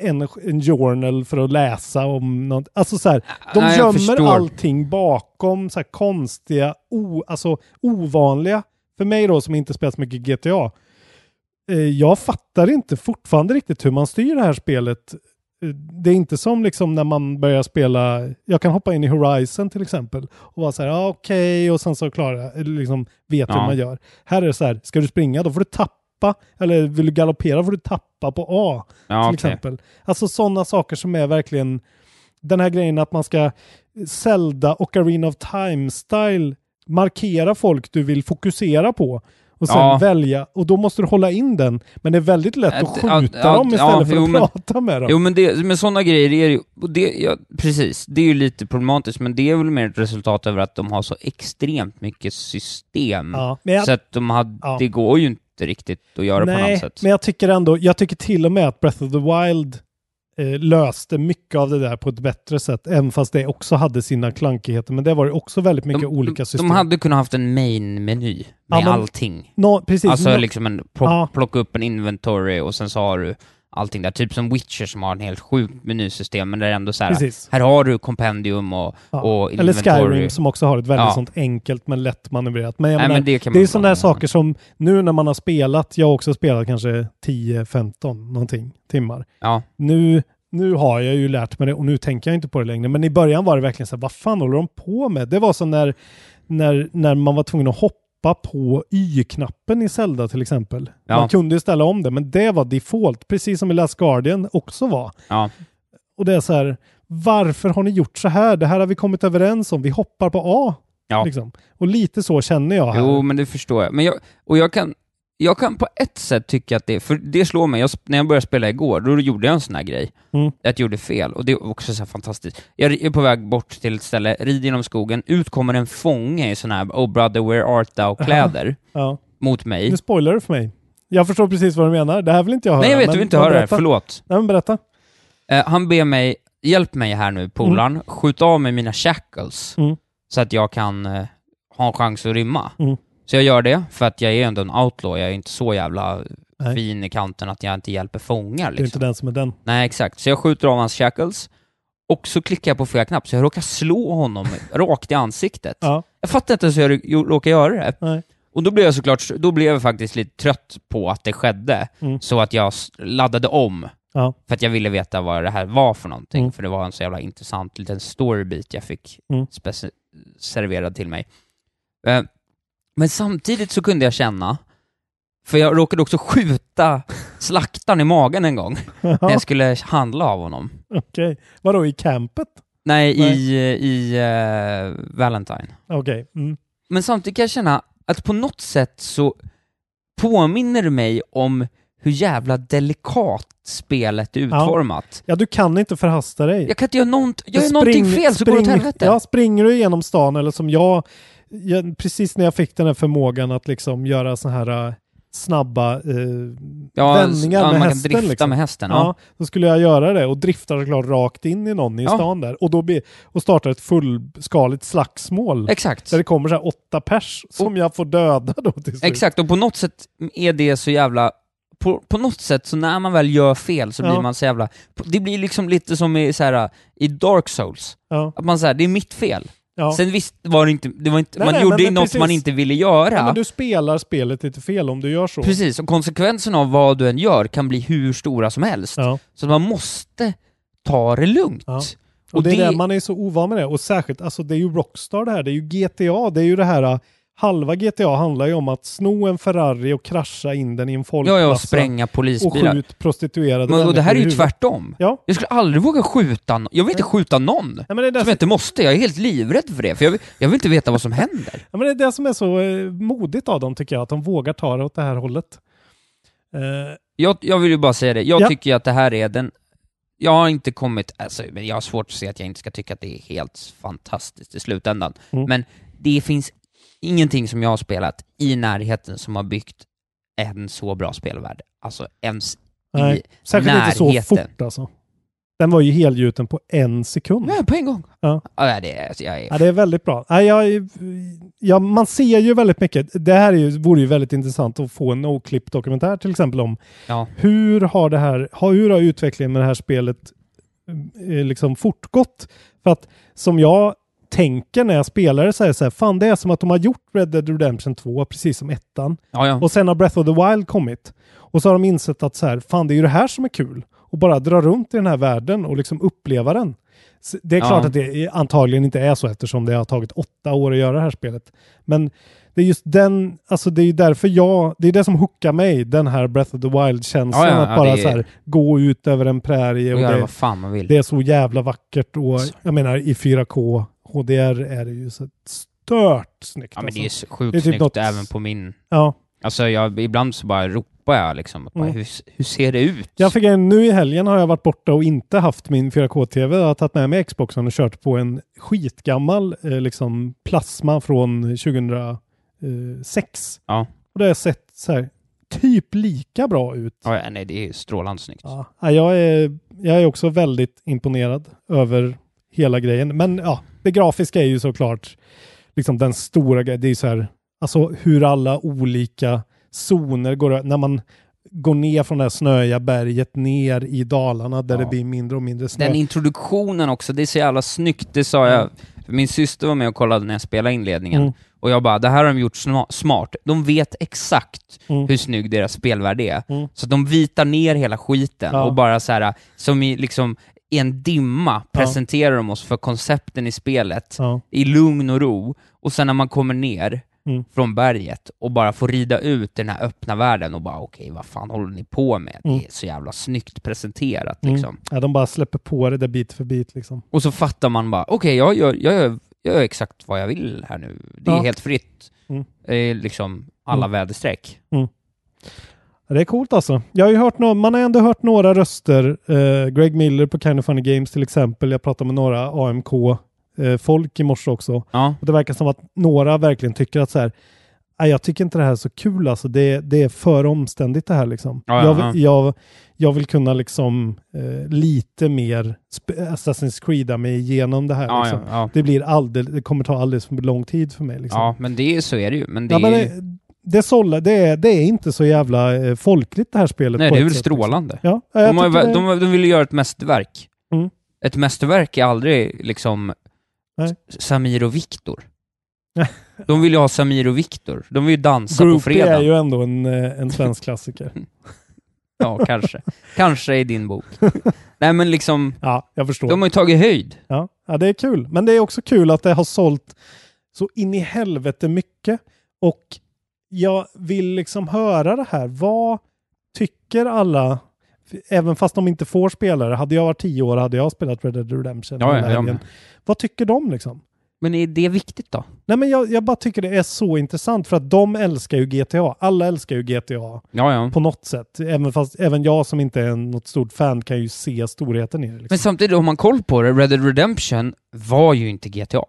S1: en, en journal för att läsa om något. Alltså så här, de
S2: Nej, jag
S1: gömmer
S2: förstår.
S1: allting bakom så här konstiga, o, alltså ovanliga, för mig då som inte spelat så mycket GTA, eh, jag fattar inte fortfarande riktigt hur man styr det här spelet. Eh, Det är inte som liksom när man börjar spela, jag kan hoppa in i Horizon till exempel och vara så här, ah, okej, och sen så klarar jag, eller liksom vet
S2: Ja.
S1: hur man gör. Här är det så här, ska du springa då får du tappa, eller vill du galoppera får du tappa på A
S2: Ja,
S1: till
S2: okej.
S1: exempel. Alltså sådana saker som är verkligen den här grejen att man ska Zelda och Arena of Time-style markera folk du vill fokusera på och sen
S2: Ja.
S1: välja och då måste du hålla in den. Men det är väldigt lätt att
S2: Att- ja,
S1: skjuta
S2: ja,
S1: dem istället
S2: ja,
S1: för
S2: jo,
S1: att
S2: men-
S1: prata med dem.
S2: Jo men, det, men sådana grejer är ju, och det, ja, precis, det är ju lite problematiskt men det är väl mer ett resultat över att de har så extremt mycket system.
S1: ja. Men jag,
S2: Så att de hade,
S1: Ja.
S2: det går ju inte riktigt att göra på något
S1: nej,
S2: sätt.
S1: men jag tycker ändå, jag tycker till och med att Breath of the Wild eh, löste mycket av det där på ett bättre sätt, även fast det också hade sina klankigheter. Men det var ju också väldigt mycket olika system.
S2: de hade kunnat haft en main-meny med
S1: Ja, men-
S2: allting.
S1: Nå, precis,
S2: Alltså
S1: nå-
S2: liksom en, plock,
S1: Ja.
S2: plocka upp en inventory och sen så har du allting där. Typ som Witcher som har en helt sjukt menysystem, men det är ändå så här,
S1: Precis.
S2: här har du kompendium och,
S1: Ja.
S2: och
S1: Eller
S2: inventory.
S1: Skyrim som också har ett väldigt
S2: Ja.
S1: sånt enkelt men lätt manövrerat. Men, jag
S2: Nej,
S1: menar,
S2: men det
S1: det,
S2: kan man
S1: är sådana där
S2: prata om.
S1: saker som nu när man har spelat, jag har också spelat kanske 10-15 någonting timmar.
S2: Ja.
S1: Nu, nu har jag ju lärt mig det och nu tänker jag inte på det längre. Men i början var det verkligen så här, vad fan håller de på med? Det var som när, när, när man var tvungen att hoppa på Y-knappen i Zelda till exempel.
S2: Ja.
S1: Man kunde ju ställa om det, men det var default, precis som i Last Guardian också var.
S2: Ja.
S1: Och det är så här, varför har ni gjort så här? Det här har vi kommit överens om. Vi hoppar på A.
S2: Ja.
S1: Liksom. Och lite så känner jag här.
S2: Jo, men det förstår jag. Men jag och jag kan, jag kan på ett sätt tycka att det, för det slår mig, jag, sp- när jag började spela igår, då gjorde jag en sån här grej.
S1: Mm.
S2: Att jag gjorde fel, och det är också så här fantastiskt. Jag är på väg bort till ett ställe, rider genom skogen, ut kommer en fånge i sån här Oh brother where art thou-kläder
S1: Ja.
S2: mot mig.
S1: Nu spoilar du för mig. Jag förstår precis vad du menar. Det här vill inte jag höra.
S2: Nej, jag vet,
S1: men-
S2: du vill inte
S1: men
S2: höra det här,
S1: berätta.
S2: förlåt.
S1: Nej, men berätta.
S2: Eh, han ber mig, hjälp mig här nu polaren, skjut av mig mina shackles.
S1: Mm.
S2: Så att jag kan eh, ha en chans att rymma.
S1: Mm.
S2: Så jag gör det, för att jag är ändå en outlaw, jag är inte så jävla
S1: Nej.
S2: fin i kanten att jag inte hjälper fångar
S1: Det är inte
S2: liksom.
S1: den som är den.
S2: Nej, exakt. Så jag skjuter av hans shackles, och så klickar jag på fel knapp, så jag råkar slå honom rakt i ansiktet.
S1: Ja.
S2: Jag fattar inte ens hur jag jo- råkar göra det.
S1: Nej.
S2: Och då blev jag såklart, då blev jag faktiskt lite trött på att det skedde,
S1: Mm.
S2: så att jag s- laddade om.
S1: Ja.
S2: För att jag ville veta vad det här var för någonting,
S1: Mm.
S2: för det var en så jävla intressant liten storybit jag fick
S1: Mm.
S2: speci- serverad till mig. Eh, Men samtidigt så kunde jag känna, för jag råkade också skjuta slaktaren i magen en gång, när jag skulle handla av honom.
S1: Okej. Vadå, i campet?
S2: Nej,
S1: Nej.
S2: i, i eh, Valentine.
S1: Okej. Mm.
S2: Men samtidigt kan jag känna att på något sätt så påminner det mig om hur jävla delikat spelet är
S1: Ja.
S2: utformat.
S1: Ja, du kan inte förhasta dig.
S2: Jag kan inte göra något, gör jag
S1: Spring-
S2: någonting fel så går det åt
S1: spring-
S2: helvete.
S1: Ja, springer du genom stan eller som jag, jag, precis när jag fick den här förmågan att liksom göra så här eh, snabba eh,
S2: Ja,
S1: vändningar
S2: ja,
S1: med
S2: man
S1: hästen.
S2: kan drifta
S1: liksom.
S2: med hästen.
S1: Ja,
S2: Ja.
S1: då skulle jag göra det och drifta såklart rakt in i någon i
S2: Ja.
S1: stan där och då be, och starta ett fullskaligt slagsmål.
S2: Exakt.
S1: Där det kommer så här åtta pers som jag får döda då till slut.
S2: Exakt, och på något sätt är det så jävla... På, på något sätt, så när man väl gör fel så
S1: Ja.
S2: blir man så jävla... Det blir liksom lite som i, så här, i Dark Souls.
S1: Ja,
S2: Att man säger det är mitt fel.
S1: ja.
S2: Sen visst var det inte... Det var inte
S1: Nej,
S2: man
S1: nej,
S2: gjorde
S1: men-
S2: ju
S1: men
S2: något
S1: precis.
S2: man inte ville
S1: Ja,
S2: göra.
S1: men du spelar spelet lite fel om du gör så.
S2: Precis, och konsekvenserna av vad du än gör kan bli hur stora som helst.
S1: Ja.
S2: Så man måste ta det lugnt.
S1: Ja. Och, det, är det, man är ju så ovan med det. Och särskilt, alltså det är ju Rockstar det här, det är ju GTA, det är ju det här, äh, halva GTA handlar ju om att sno en Ferrari och krascha in den i en
S2: ja,
S1: folkmassa.
S2: ja, spränga
S1: och
S2: polisbilar.
S1: skjut prostituerade
S2: Men, och det här är ju
S1: människor i huvudet.
S2: tvärtom.
S1: Ja.
S2: Jag skulle aldrig våga skjuta någon. Jag vill inte skjuta någon.
S1: Nej, men det är
S2: Som jag
S1: därför-
S2: inte måste, jag är helt livrädd för det, för jag vill, jag vill inte veta vad som händer.
S1: Ja, men det är det som är så eh, modigt av dem tycker jag, att de vågar ta det åt det här hållet. Eh,
S2: Jag, jag vill ju bara säga det, jag
S1: Ja.
S2: tycker ju att det här är den... Jag har inte kommit... Alltså, men jag har svårt att se att jag inte ska tycka att det är helt fantastiskt i slutändan.
S1: Mm.
S2: Men det finns ingenting som jag har spelat i närheten som har byggt en så bra spelvärld. Alltså ens i...
S1: nej, särskilt inte så
S2: närheten.
S1: fort alltså. Den var ju helgjuten på en sekund.
S2: Nej, på en gång!
S1: Ja.
S2: Ja, det är... Alltså, jag
S1: Ja,
S2: är
S1: det är väldigt bra. Ja, jag, ja, man ser ju väldigt mycket. Det här är ju, vore ju väldigt intressant att få en no-clip-dokumentär till exempel om
S2: ja.
S1: hur har, det här, har- hur har utvecklingen med det här spelet eh, liksom fortgått? För att som jag tänker när jag spelar det så är det så här, fan det är som att de har gjort Red Dead Redemption 2, precis som ettan.
S2: Ja, ja.
S1: Och sen har Breath of the Wild kommit. Och så har de insett att så här, fan det är ju det här som är kul. Och bara dra runt i den här världen och liksom uppleva den. Så Det är
S2: Ja.
S1: klart att det är- antagligen inte är så eftersom det har tagit åtta år att göra det här spelet. Men det är just den, alltså det är ju därför jag, det är det som hookar mig, den här Breath of the Wild-känslan.
S2: Ja, ja,
S1: att
S2: ja,
S1: bara
S2: det är-
S1: så här, gå ut över en prärie
S2: Och
S1: och,
S2: göra
S1: det,
S2: vad fan man vill.
S1: det är så jävla vackert. Och jag menar i 4K HDR är det ju så stört snyggt.
S2: ja men det är ju
S1: alltså.
S2: så sjukt
S1: Det är typ
S2: snyggt
S1: något-
S2: även på min...
S1: ja.
S2: Alltså jag, ibland så bara ropar jag liksom. Bara,
S1: Mm.
S2: hur, hur ser det ut?
S1: Jag fick en, nu i helgen har jag varit borta och inte haft min 4K-TV. Jag har tagit med mig Xboxen och kört på en skitgammal eh, liksom plasma från 2006.
S2: Ja.
S1: Och det har jag sett så här, typ lika bra ut.
S2: Ja, ja, nej, det är ju strålande snyggt.
S1: Ja, nej, jag, är, jag är också väldigt imponerad över hela grejen. Men ja, det grafiska är ju såklart liksom den stora grejen. Det är ju så här, alltså hur alla olika zoner går ö- När man går ner från det här snöiga berget ner i Dalarna där
S2: Ja.
S1: det blir mindre och mindre snö.
S2: Den introduktionen också, det är så jävla snyggt. Det sa jag, för min syster var med och kollade när jag spelade inledningen.
S1: Mm.
S2: Och jag bara, det här har de gjort sma- smart. De vet exakt
S1: Mm.
S2: hur snygg deras spelvärde är.
S1: Mm.
S2: Så de vitar ner hela skiten
S1: Ja.
S2: och bara så här, som i liksom i en dimma
S1: Ja.
S2: presenterar de oss för koncepten i spelet
S1: Ja.
S2: i lugn och ro. Och sen när man kommer ner
S1: Mm.
S2: från berget och bara får rida ut i den här öppna världen och bara okej, vad fan håller ni på med?
S1: Mm.
S2: Det är så jävla snyggt presenterat
S1: Mm.
S2: liksom.
S1: Ja, de bara släpper på det där bit för bit liksom.
S2: Och så fattar man bara, okej, jag, gör, jag, gör, jag gör exakt vad jag vill här nu. Det är
S1: Ja.
S2: helt fritt.
S1: Mm.
S2: Eh, liksom alla väderstreck.
S1: Ja, Det är coolt alltså. Jag har ju hört no man har ändå hört några röster. Eh, Greg Miller på Kind of Funny Games till exempel. Jag pratade med några AMK-folk eh, i morse också.
S2: Ja.
S1: Och det verkar som att några verkligen tycker att så här, "Nej, jag tycker inte det här är så kul alltså. Det, det är för omständigt det här liksom.
S2: Ja, ja,
S1: jag,
S2: ja.
S1: vill- jag, jag vill kunna liksom eh, lite mer sp- Assassin's Creeda mig igenom det här.
S2: Ja,
S1: liksom.
S2: ja, ja.
S1: Det, blir alldeles, det kommer ta alldeles för lång tid för mig. Liksom.
S2: ja, men det är, så är det ju. Men det
S1: Ja, men
S2: är,
S1: det, det, sålla, det, är, det är inte så jävla eh, folkligt det här spelet.
S2: nej,
S1: på
S2: det är
S1: ett
S2: väl
S1: sätt, liksom.
S2: strålande.
S1: Ja,
S2: De, har,
S1: jag
S2: ju
S1: tycker
S2: vä-
S1: det,
S2: de, de vill ju göra ett mästerverk.
S1: Mm.
S2: Ett mästerverk är aldrig liksom
S1: Nej.
S2: S- Samir och Viktor. De vill ju ha Samir och Viktor. De vill ju dansa på
S1: Groupie är
S2: fredag.
S1: ju ändå en, eh, en svensk klassiker.
S2: Ja, kanske. kanske i din bok. Nej, men liksom,
S1: Ja, jag förstår.
S2: de har ju tagit höjd.
S1: Ja, ja, det är kul. Men det är också kul att det har sålt så in i helvete mycket. Och jag vill liksom höra det här. Vad tycker alla? Även fast de inte får spelare. Hade jag varit tio år hade jag spelat Red Dead Redemption.
S2: Ja,
S1: hela
S2: ja, ja,
S1: helgen.
S2: men,
S1: Vad tycker de liksom?
S2: men är det viktigt då?
S1: Nej, men jag, jag bara tycker det är så intressant för att de älskar ju GTA. Alla älskar ju GTA
S2: Ja, ja.
S1: på något sätt. Även, fast, även jag som inte är något stort fan kan ju se storheten i det. Liksom.
S2: Men samtidigt, om man koll på det, Red Dead Redemption var ju inte GTA.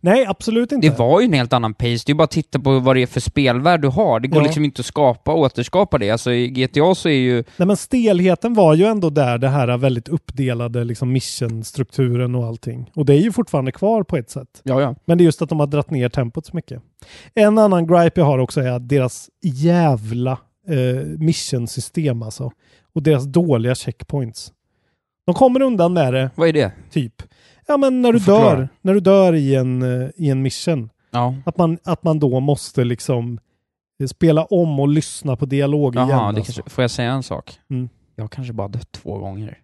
S1: Nej, absolut inte.
S2: Det var ju en helt annan pace. Det är bara att titta på vad det är för spelvärld du har. Det går
S1: Ja.
S2: liksom inte att skapa och återskapa det. Alltså i GTA så är ju...
S1: Nej, men stelheten var ju ändå där, det här väldigt uppdelade liksom missionstrukturen och allting. Och det är ju fortfarande kvar på ett sätt.
S2: Ja, ja.
S1: Men det är just att de har dratt ner tempot så mycket. En annan gripe jag har också är att deras jävla eh, missionsystem alltså. Och deras dåliga checkpoints. De kommer undan med det,
S2: Vad är det?
S1: typ. Ja men när du
S2: Förklara.
S1: dör, när du dör i en, eh, i en mission.
S2: Ja.
S1: Att man, att man då måste liksom eh, spela om och lyssna på dialog igen.
S2: Jaha, det
S1: alltså.
S2: kanske... får jag säga en sak?
S1: Mm.
S2: Jag har kanske bara dött två gånger.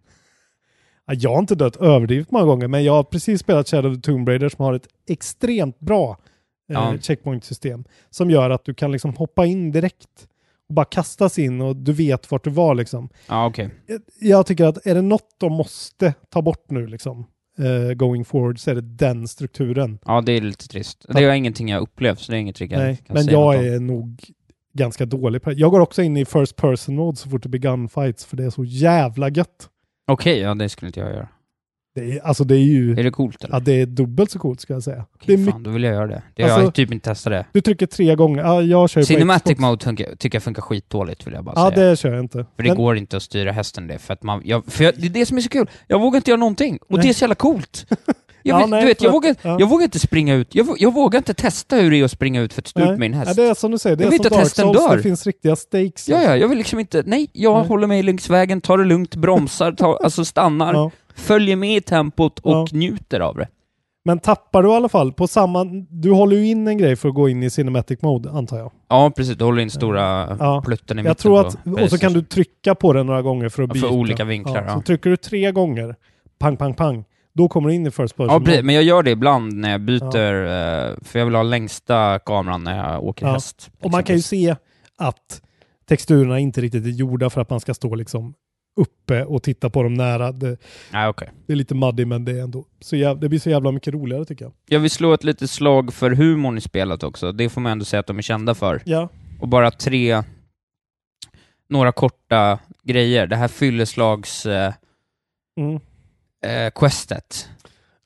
S1: Ja, Jag har inte dött överdrivet många gånger, men jag har precis spelat Shadow of the Tomb Raider som har ett extremt bra eh,
S2: Ja.
S1: checkpoint-system som gör att du kan liksom hoppa in direkt och bara kastas in och du vet vart du var liksom.
S2: Ja, okej.
S1: Jag- Jag tycker att är det något de måste ta bort nu liksom, eh, going forward, så är det den strukturen.
S2: Ja, det är lite trist. Det är ingenting jag upplevt, så det är inget jag
S1: Nej,
S2: kan
S1: men
S2: säga
S1: jag
S2: något om.
S1: är nog ganska dålig på det. Jag går också in i first person mode så fort det blir gunfights för det är så jävla gött.
S2: Okej, ja det skulle inte jag göra.
S1: Det är, alltså det är ju,
S2: Är det coolt eller?
S1: ja, det är dubbelt så coolt ska jag säga. det
S2: Okej,
S1: är mycket
S2: fan, då vill jag göra det. det jag
S1: Alltså-
S2: har typ inte testat det.
S1: Du trycker tre gånger. Ja, jag kör ju på
S2: Cinematic
S1: Xbox.
S2: mode funkar- tycker jag funkar skitdåligt, vill jag bara
S1: Ja,
S2: säga.
S1: det kör jag inte.
S2: För det
S1: Men-
S2: går inte att styra hästen det, för att man... Jag, för jag, det är det som är så kul. Jag vågar inte göra någonting, och
S1: Nej.
S2: det är så jävla coolt. Jag,
S1: Ja,
S2: vet,
S1: nej,
S2: du vet, jag,
S1: för-
S2: vågar,
S1: ja.
S2: jag vågar inte springa ut. Jag, vå- jag vågar inte testa hur det är att springa ut för ett stup
S1: Nej.
S2: med en
S1: Ja,
S2: häst.
S1: det är som du säger, det
S2: Jag
S1: är
S2: vill
S1: som
S2: inte att
S1: Dark
S2: hästen
S1: Souls.
S2: dör.
S1: Det finns riktiga stakes.
S2: Ja, ja, jag vill liksom inte... Nej, jag
S1: Nej.
S2: håller mig längs vägen, tar det lugnt, bromsar, tar, alltså stannar,
S1: Ja.
S2: följer med i tempot och
S1: Ja.
S2: njuter av det.
S1: Men tappar du i alla fall på samma... Du håller ju in en grej för att gå in i Cinematic Mode, antar jag.
S2: Ja, precis. Du håller in stora
S1: Ja.
S2: plutten i mitten.
S1: Jag tror att...
S2: på-
S1: Och så kan du trycka på den några gånger för att
S2: Ja,
S1: byta.
S2: för olika vinklar, ja.
S1: Så trycker du tre gånger, pang, pang, pang, då kommer du in i First Person.
S2: Ja, precis. Men jag gör det ibland när jag byter, eh, för jag vill ha längsta kameran när jag åker
S1: Ja.
S2: häst.
S1: Och man kan ju se att texturerna inte riktigt är gjorda för att man ska stå liksom uppe och titta på dem nära. Det,
S2: Nej, okej.
S1: det är lite muddy men det är ändå... Så jäv, det blir så jävla mycket roligare tycker jag.
S2: Jag vill slå ett litet slag för humorn i spelet också. Det får man ändå säga att de är kända för.
S1: Ja.
S2: Och bara tre, några korta grejer. Det här fylleslags eh,
S1: Mm.
S2: eh, questet.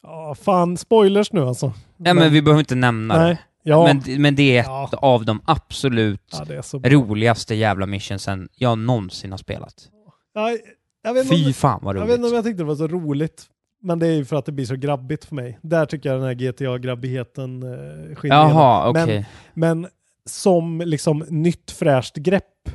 S1: Ja, fan, spoilers nu alltså.
S2: Nej, men vi behöver inte nämna det.
S1: Nej. Ja.
S2: Men, men det är ett
S1: Ja.
S2: av de absolut
S1: ja, det är så bra.
S2: roligaste jävla missionsen jag någonsin har spelat.
S1: Ja, jag, vet inte om,
S2: Fy fan vad
S1: jag vet inte om
S2: roligt.
S1: jag tyckte det var så roligt. Men det är ju för att det blir så grabbigt för mig. Där tycker jag den här GTA-grabbigheten eh, skiner
S2: Jaha, okej.
S1: igenom. Men, men som liksom nytt fräscht grepp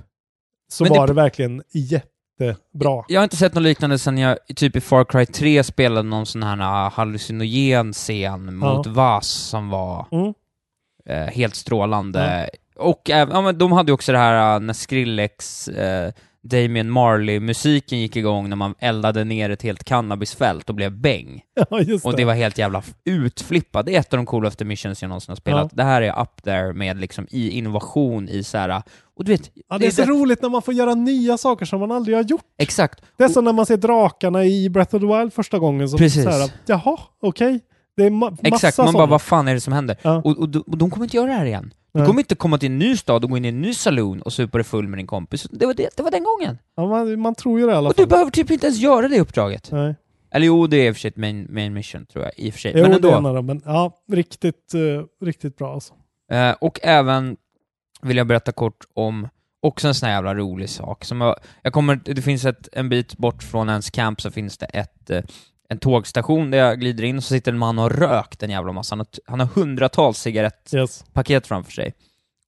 S1: så
S2: Men det-
S1: var det verkligen jättebra.
S2: Jag har inte sett något liknande sen jag typ i Far Cry 3 spelade någon sån här äh, hallucinogen scen mot Vaz som var
S1: Mm.
S2: eh, helt strålande. Och även, ja, men de hade ju också det här äh, när Skrillex, eh, Damien Marley-musiken gick igång när man eldade ner ett helt cannabisfält och blev bäng.
S1: Ja, just
S2: Och det var helt jävla f- utflippat. Det är ett av de coolaste missions jag någonsin har spelat. Det här är up there med liksom i innovation i så här. äh, och du vet...
S1: Ja, det är så roligt när man får göra nya saker som man aldrig har gjort.
S2: Exakt.
S1: Det är som när man ser drakarna i Breath of the Wild första gången. Så
S2: Precis.
S1: Så här, Jaha, okej. Det är ma- massa
S2: Exakt, man bara
S1: sådana.
S2: vad fan är det som händer?
S1: Ja.
S2: Och, och, de- och de kommer inte göra det här igen. Du
S1: Nej.
S2: kommer inte komma till en ny stad och gå in i en ny saloon och supa dig full med din kompis. Det var, det, det var den gången.
S1: ja, man, man tror ju det i alla
S2: Och du
S1: fall.
S2: behöver typ inte ens göra det uppdraget.
S1: Nej.
S2: Eller jo, det är i och för sig ett main, main mission tror jag, i och för sig.
S1: Jo,
S2: Men
S1: det är en
S2: ändå.
S1: av dem. Men ja, riktigt, eh, riktigt bra alltså.
S2: Eh, och även vill jag berätta kort om också en sån här jävla rolig sak som jag, jag kommer, det finns ett, en bit bort från ens camp så finns det ett, eh, en tågstation där jag glider in och så sitter en man och har rökt en jävla massa. Han har, t- han har hundratals cigarettpaket
S1: Yes.
S2: framför sig.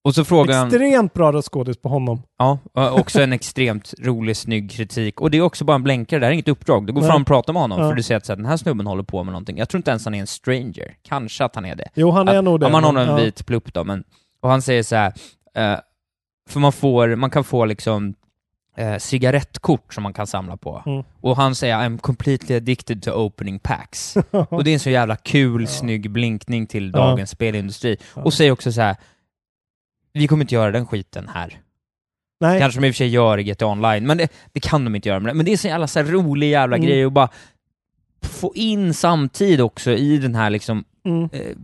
S2: Och så frågar han...
S1: Extremt bra röstskådis på honom.
S2: Ja, och också en extremt rolig, snygg kritik. Och det är också bara en blänkare, det här är inget uppdrag. Du går
S1: Nej.
S2: fram och pratar med honom,
S1: Ja.
S2: för du ser att så här, den här snubben håller på med någonting. Jag tror inte ens han är en stranger. Kanske att han är det.
S1: Jo, han är
S2: att,
S1: nog det.
S2: Om man har
S1: men-
S2: en
S1: ja.
S2: vit plupp då, men... Och han säger så här, eh, för man får, man kan få liksom eh, cigarettkort som man kan samla på.
S1: Mm.
S2: Och han säger I'm completely addicted to opening packs. och det är en så jävla kul, snygg blinkning till
S1: Ja.
S2: dagens spelindustri. Och säger också så här, vi kommer inte göra den skiten här.
S1: Nej,
S2: Kanske de i och för sig gör i GTA Online, men det, det kan de inte göra. Men men det är så jävla så här rolig jävla
S1: Mm.
S2: grej att bara få in samtid också i den här liksom
S1: mm,
S2: eh,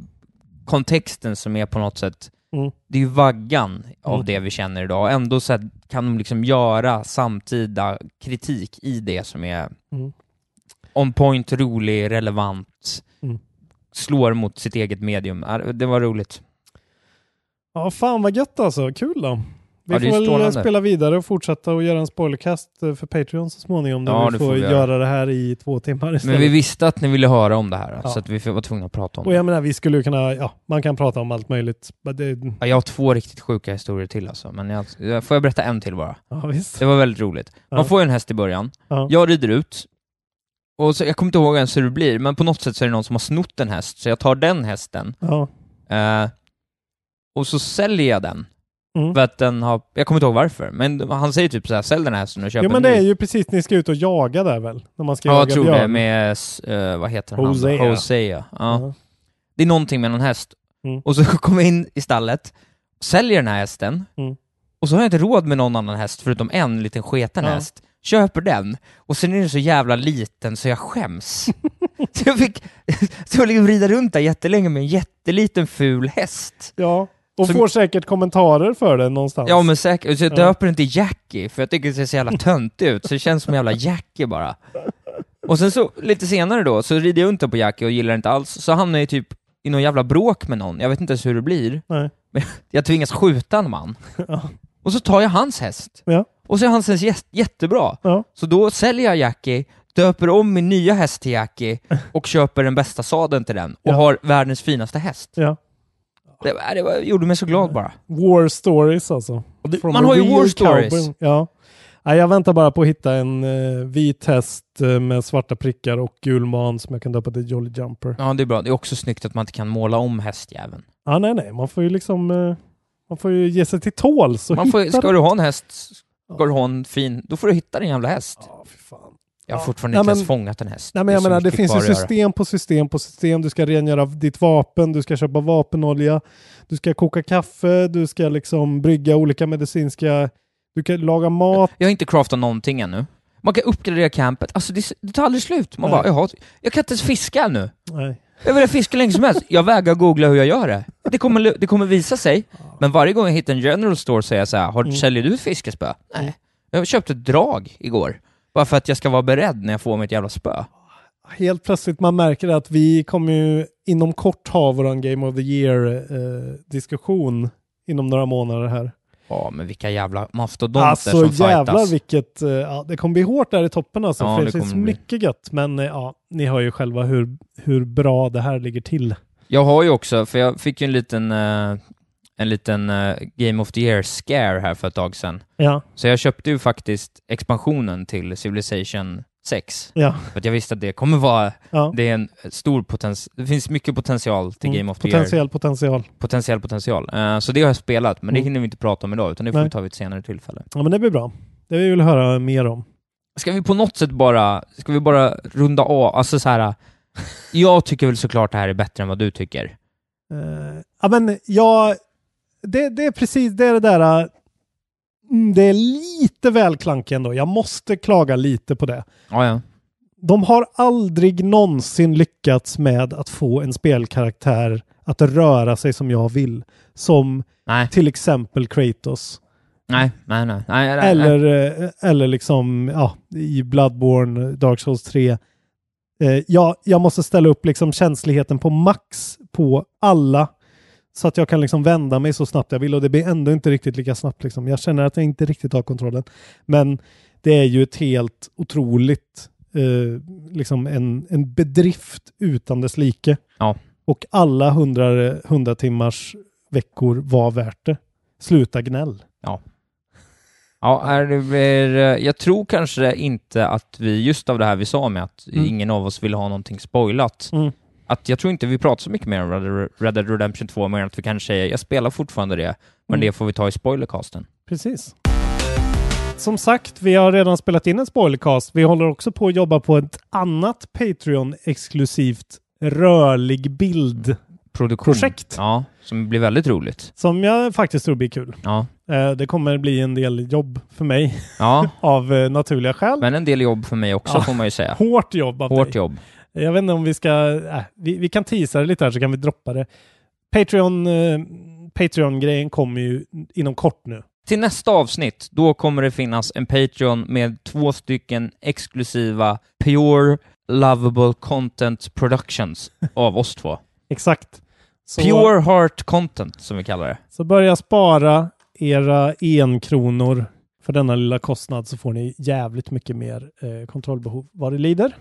S2: kontexten som är på något sätt,
S1: Mm.
S2: det är ju vaggan av
S1: Mm.
S2: det vi känner idag. Ändå så här, kan de liksom göra samtida kritik i det som är
S1: Mm.
S2: on point, rolig, relevant,
S1: Mm.
S2: slår mot sitt eget medium. Ja, Det var roligt.
S1: ja, fan vad gött alltså. Kul då. Vi
S2: Ja, det är
S1: får väl eh,
S2: strålande.
S1: spela vidare och fortsätta och göra en spoilercast eh, för Patreon så småningom. Där
S2: Ja,
S1: vi
S2: det
S1: får,
S2: får vi
S1: göra.
S2: göra.
S1: det här i två timmar
S2: Men
S1: istället.
S2: vi visste att ni ville höra om det här,
S1: Ja.
S2: så att vi var tvungna att prata om det.
S1: Och jag menar, vi skulle ju kunna, ja, man kan prata om allt möjligt. Men Det,
S2: Ja, Jag har två riktigt sjuka historier till alltså, men jag, jag- får jag berätta en till bara?
S1: ja, visst.
S2: Det var väldigt roligt. Man
S1: Ja.
S2: får ju en häst i början,
S1: Ja.
S2: jag rider ut, och så, jag kommer inte ihåg ens hur det blir, men på något sätt så är det någon som har snott en häst, så jag tar den hästen,
S1: Ja.
S2: eh, och så säljer jag den.
S1: Mm.
S2: För att den har, jag kommer inte ihåg varför, men han säger typ så här: sälj den här hästen och köp
S1: Jo,
S2: en
S1: men det
S2: ny."
S1: är ju precis, ni ska ut och jaga där väl? När man ska
S2: Ja, jag
S1: jaga
S2: tror
S1: björn.
S2: det, med, s- eh, vad heter han?
S1: Hosea.
S2: Hosea. Ja.
S1: Ja.
S2: det är någonting med någon häst.
S1: Mm.
S2: Och så kommer jag in i stallet, säljer den här hästen,
S1: Mm.
S2: och så har jag inte råd med någon annan häst förutom en liten sketen
S1: Ja.
S2: häst. Köper den, och sen är den så jävla liten så jag skäms. så jag fick så jag liksom rida runt där jättelänge med en jätteliten ful häst.
S1: Ja, och
S2: Som-
S1: får säkert kommentarer för det någonstans.
S2: Ja men säkert, så jag
S1: Ja.
S2: döper den till Jackie, för jag tycker det ser så jävla töntigt ut, så det känns som en jävla Jackie bara. Och sen så, lite senare då, så rider jag runt där på Jackie och gillar det inte alls, så hamnar jag typ i någon jävla bråk med någon, jag vet inte ens hur det blir.
S1: Nej.
S2: Men jag tvingas skjuta en man.
S1: Ja.
S2: Och så tar jag hans häst.
S1: Ja.
S2: Och så är hans häst jä- jättebra.
S1: Ja.
S2: Så då säljer jag Jackie, döper om min nya häst till Jackie och köper den bästa sadeln till den och
S1: Ja.
S2: har världens finaste häst.
S1: Ja.
S2: Det, var- det var, gjorde mig så glad bara.
S1: War stories alltså.
S2: Och det-
S1: From
S2: man
S1: a
S2: har ju
S1: real
S2: war stories.
S1: cowboy. Ja. Ja, Nej, jag väntar bara på att hitta en eh, vit häst eh, med svarta prickar och gul man som jag kan döpa till Jolly Jumper.
S2: Ja, det är bra. Det är också snyggt att man inte kan måla om hästjäveln.
S1: Ah, nej, nej, man får ju liksom eh, man får ju ge sig till tåls och
S2: Man får,
S1: hitta
S2: ska du ha en häst, ska du ha en fin, då får du hitta din jävla häst.
S1: Ja, fy fan.
S2: Jag har
S1: Ja.
S2: fortfarande
S1: Nej,
S2: inte
S1: men-
S2: ens fångat en häst.
S1: Nej,
S2: Det
S1: men
S2: är
S1: jag
S2: så
S1: menar, det
S2: mycket
S1: finns ju
S2: kvar att göra.
S1: system på system på system. Du ska rengöra ditt vapen, du ska köpa vapenolja, du ska koka kaffe, du ska liksom brygga olika medicinska... Du kan laga mat.
S2: Jag har inte craftat någonting ännu. Man kan uppgradera campet. Alltså det, det tar aldrig slut. Man
S1: Nej.
S2: bara, jaha, jag kan inte ens fiska nu.
S1: Nej.
S2: Jag vill fiska hur länge som helst. Jag vägrar googla hur jag gör det. Det kommer, det kommer visa sig. Men varje gång jag hittar en general store säger jag så här, har,
S1: Mm.
S2: säljer du ett fiskespö?
S1: Mm.
S2: Nej. Jag köpte ett drag igår. Bara för att jag ska vara beredd när jag får mitt jävla spö.
S1: Helt plötsligt man märker att vi kommer ju inom kort ha våran Game of the Year-diskussion inom några månader här.
S2: Ja, men vilka jävla mastodonter
S1: Alltså
S2: som fightas.
S1: jävlar vilket... eh, Ja, det kommer bli hårt där i toppen alltså.
S2: Ja,
S1: för det
S2: det
S1: finns
S2: kommer bli.
S1: mycket gött. Men eh, ja, ni hör ju själva hur, hur bra det här ligger till.
S2: Jag har ju också, för jag fick ju en liten, eh, en liten eh, Game of the Year-scare här för ett tag sedan.
S1: Ja,
S2: Så jag köpte ju faktiskt expansionen till Civilization 6.
S1: ja,
S2: För att jag visste att det kommer vara,
S1: ja.
S2: det är en stor potential, det finns mycket potential till
S1: Mm,
S2: Game of the Year.
S1: Potentiell potential.
S2: Potentiell potential. Eh, så det har jag spelat, men det
S1: Mm.
S2: hinner vi inte prata om idag, utan det får
S1: Nej.
S2: vi ta vid ett senare tillfälle.
S1: Ja men det blir bra. Det vill vi höra mer om.
S2: Ska vi på något sätt bara, ska vi bara runda av, alltså så här. Jag tycker väl såklart det här är bättre än vad du tycker.
S1: Eh, ja men jag... Det, det är precis det är det där... eh, mm, Det är lite välklank ändå. Jag måste klaga lite på det.
S2: Ja, ja.
S1: De har aldrig någonsin lyckats med att få en spelkaraktär att röra sig som jag vill. Som
S2: Nej,
S1: till exempel Kratos.
S2: nej, nej, nej. nej, nej, nej.
S1: Eller, eh, eller liksom ja, i Bloodborne, Dark Souls 3. Eh, jag, jag måste ställa upp liksom känsligheten på max på alla så att jag kan liksom vända mig så snabbt jag vill och det blir ändå inte riktigt lika snabbt. Liksom. Jag känner att jag inte riktigt har kontrollen. Men det är ju ett helt otroligt, eh, liksom en, en bedrift utan dess like.
S2: Ja.
S1: Och alla hundra, hundra timmars veckor var värt det. Sluta gnäll.
S2: Ja, är det blir, jag tror kanske inte att vi, just av det här vi sa med att
S1: Mm.
S2: ingen av oss vill ha någonting spoilat,
S1: Mm.
S2: att jag tror inte vi pratar så mycket mer om Red Dead- Red Dead Redemption 2, mer än att vi kanske säger jag spelar fortfarande det, men
S1: Mm.
S2: det får vi ta i spoilercasten.
S1: Precis. Som sagt, vi har redan spelat in en spoilercast. Vi håller också på att jobba på ett annat Patreon-exklusivt rörlig bild-projekt
S2: Produktion. Ja, som blir väldigt roligt.
S1: som jag faktiskt tror blir kul.
S2: Ja,
S1: Eh, Det kommer bli en del jobb för mig
S2: ja
S1: av eh, naturliga skäl.
S2: men en del jobb för mig också
S1: Ja.
S2: får man ju säga.
S1: Hårt jobb av
S2: Hårt
S1: dig.
S2: jobb.
S1: Jag vet inte om vi ska... Äh, vi, vi kan teasa det lite här så kan vi droppa det. Patreon, eh, Patreon-grejen kommer ju inom kort nu.
S2: Till nästa avsnitt, då kommer det finnas en Patreon med två stycken exklusiva Pure Lovable Content Productions av oss två.
S1: Exakt. Så-
S2: Pure Heart Content, som vi kallar det.
S1: Så börja spara era enkronor för denna lilla kostnad så får ni jävligt mycket mer eh, kontrollbehov vad det lider.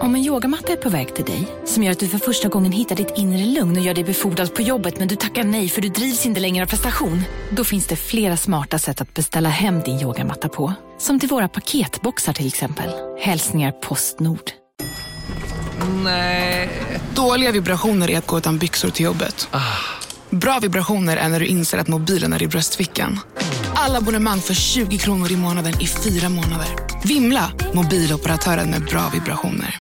S5: Om en yogamatta är på väg till dig, som gör att du för första gången hittar ditt inre lugn och gör dig befordrad på jobbet men du tackar nej för du drivs inte längre av prestation. Då finns det flera smarta sätt att beställa hem din yogamatta på. Som till våra paketboxar till exempel. Hälsningar Postnord.
S6: Dåliga vibrationer är att gå utan byxor till jobbet. Bra vibrationer är när du inser att mobilen är i bröstfickan. Alla abonnemang för 20 kronor i månaden i fyra månader. Vimla! Mobiloperatören med bra vibrationer.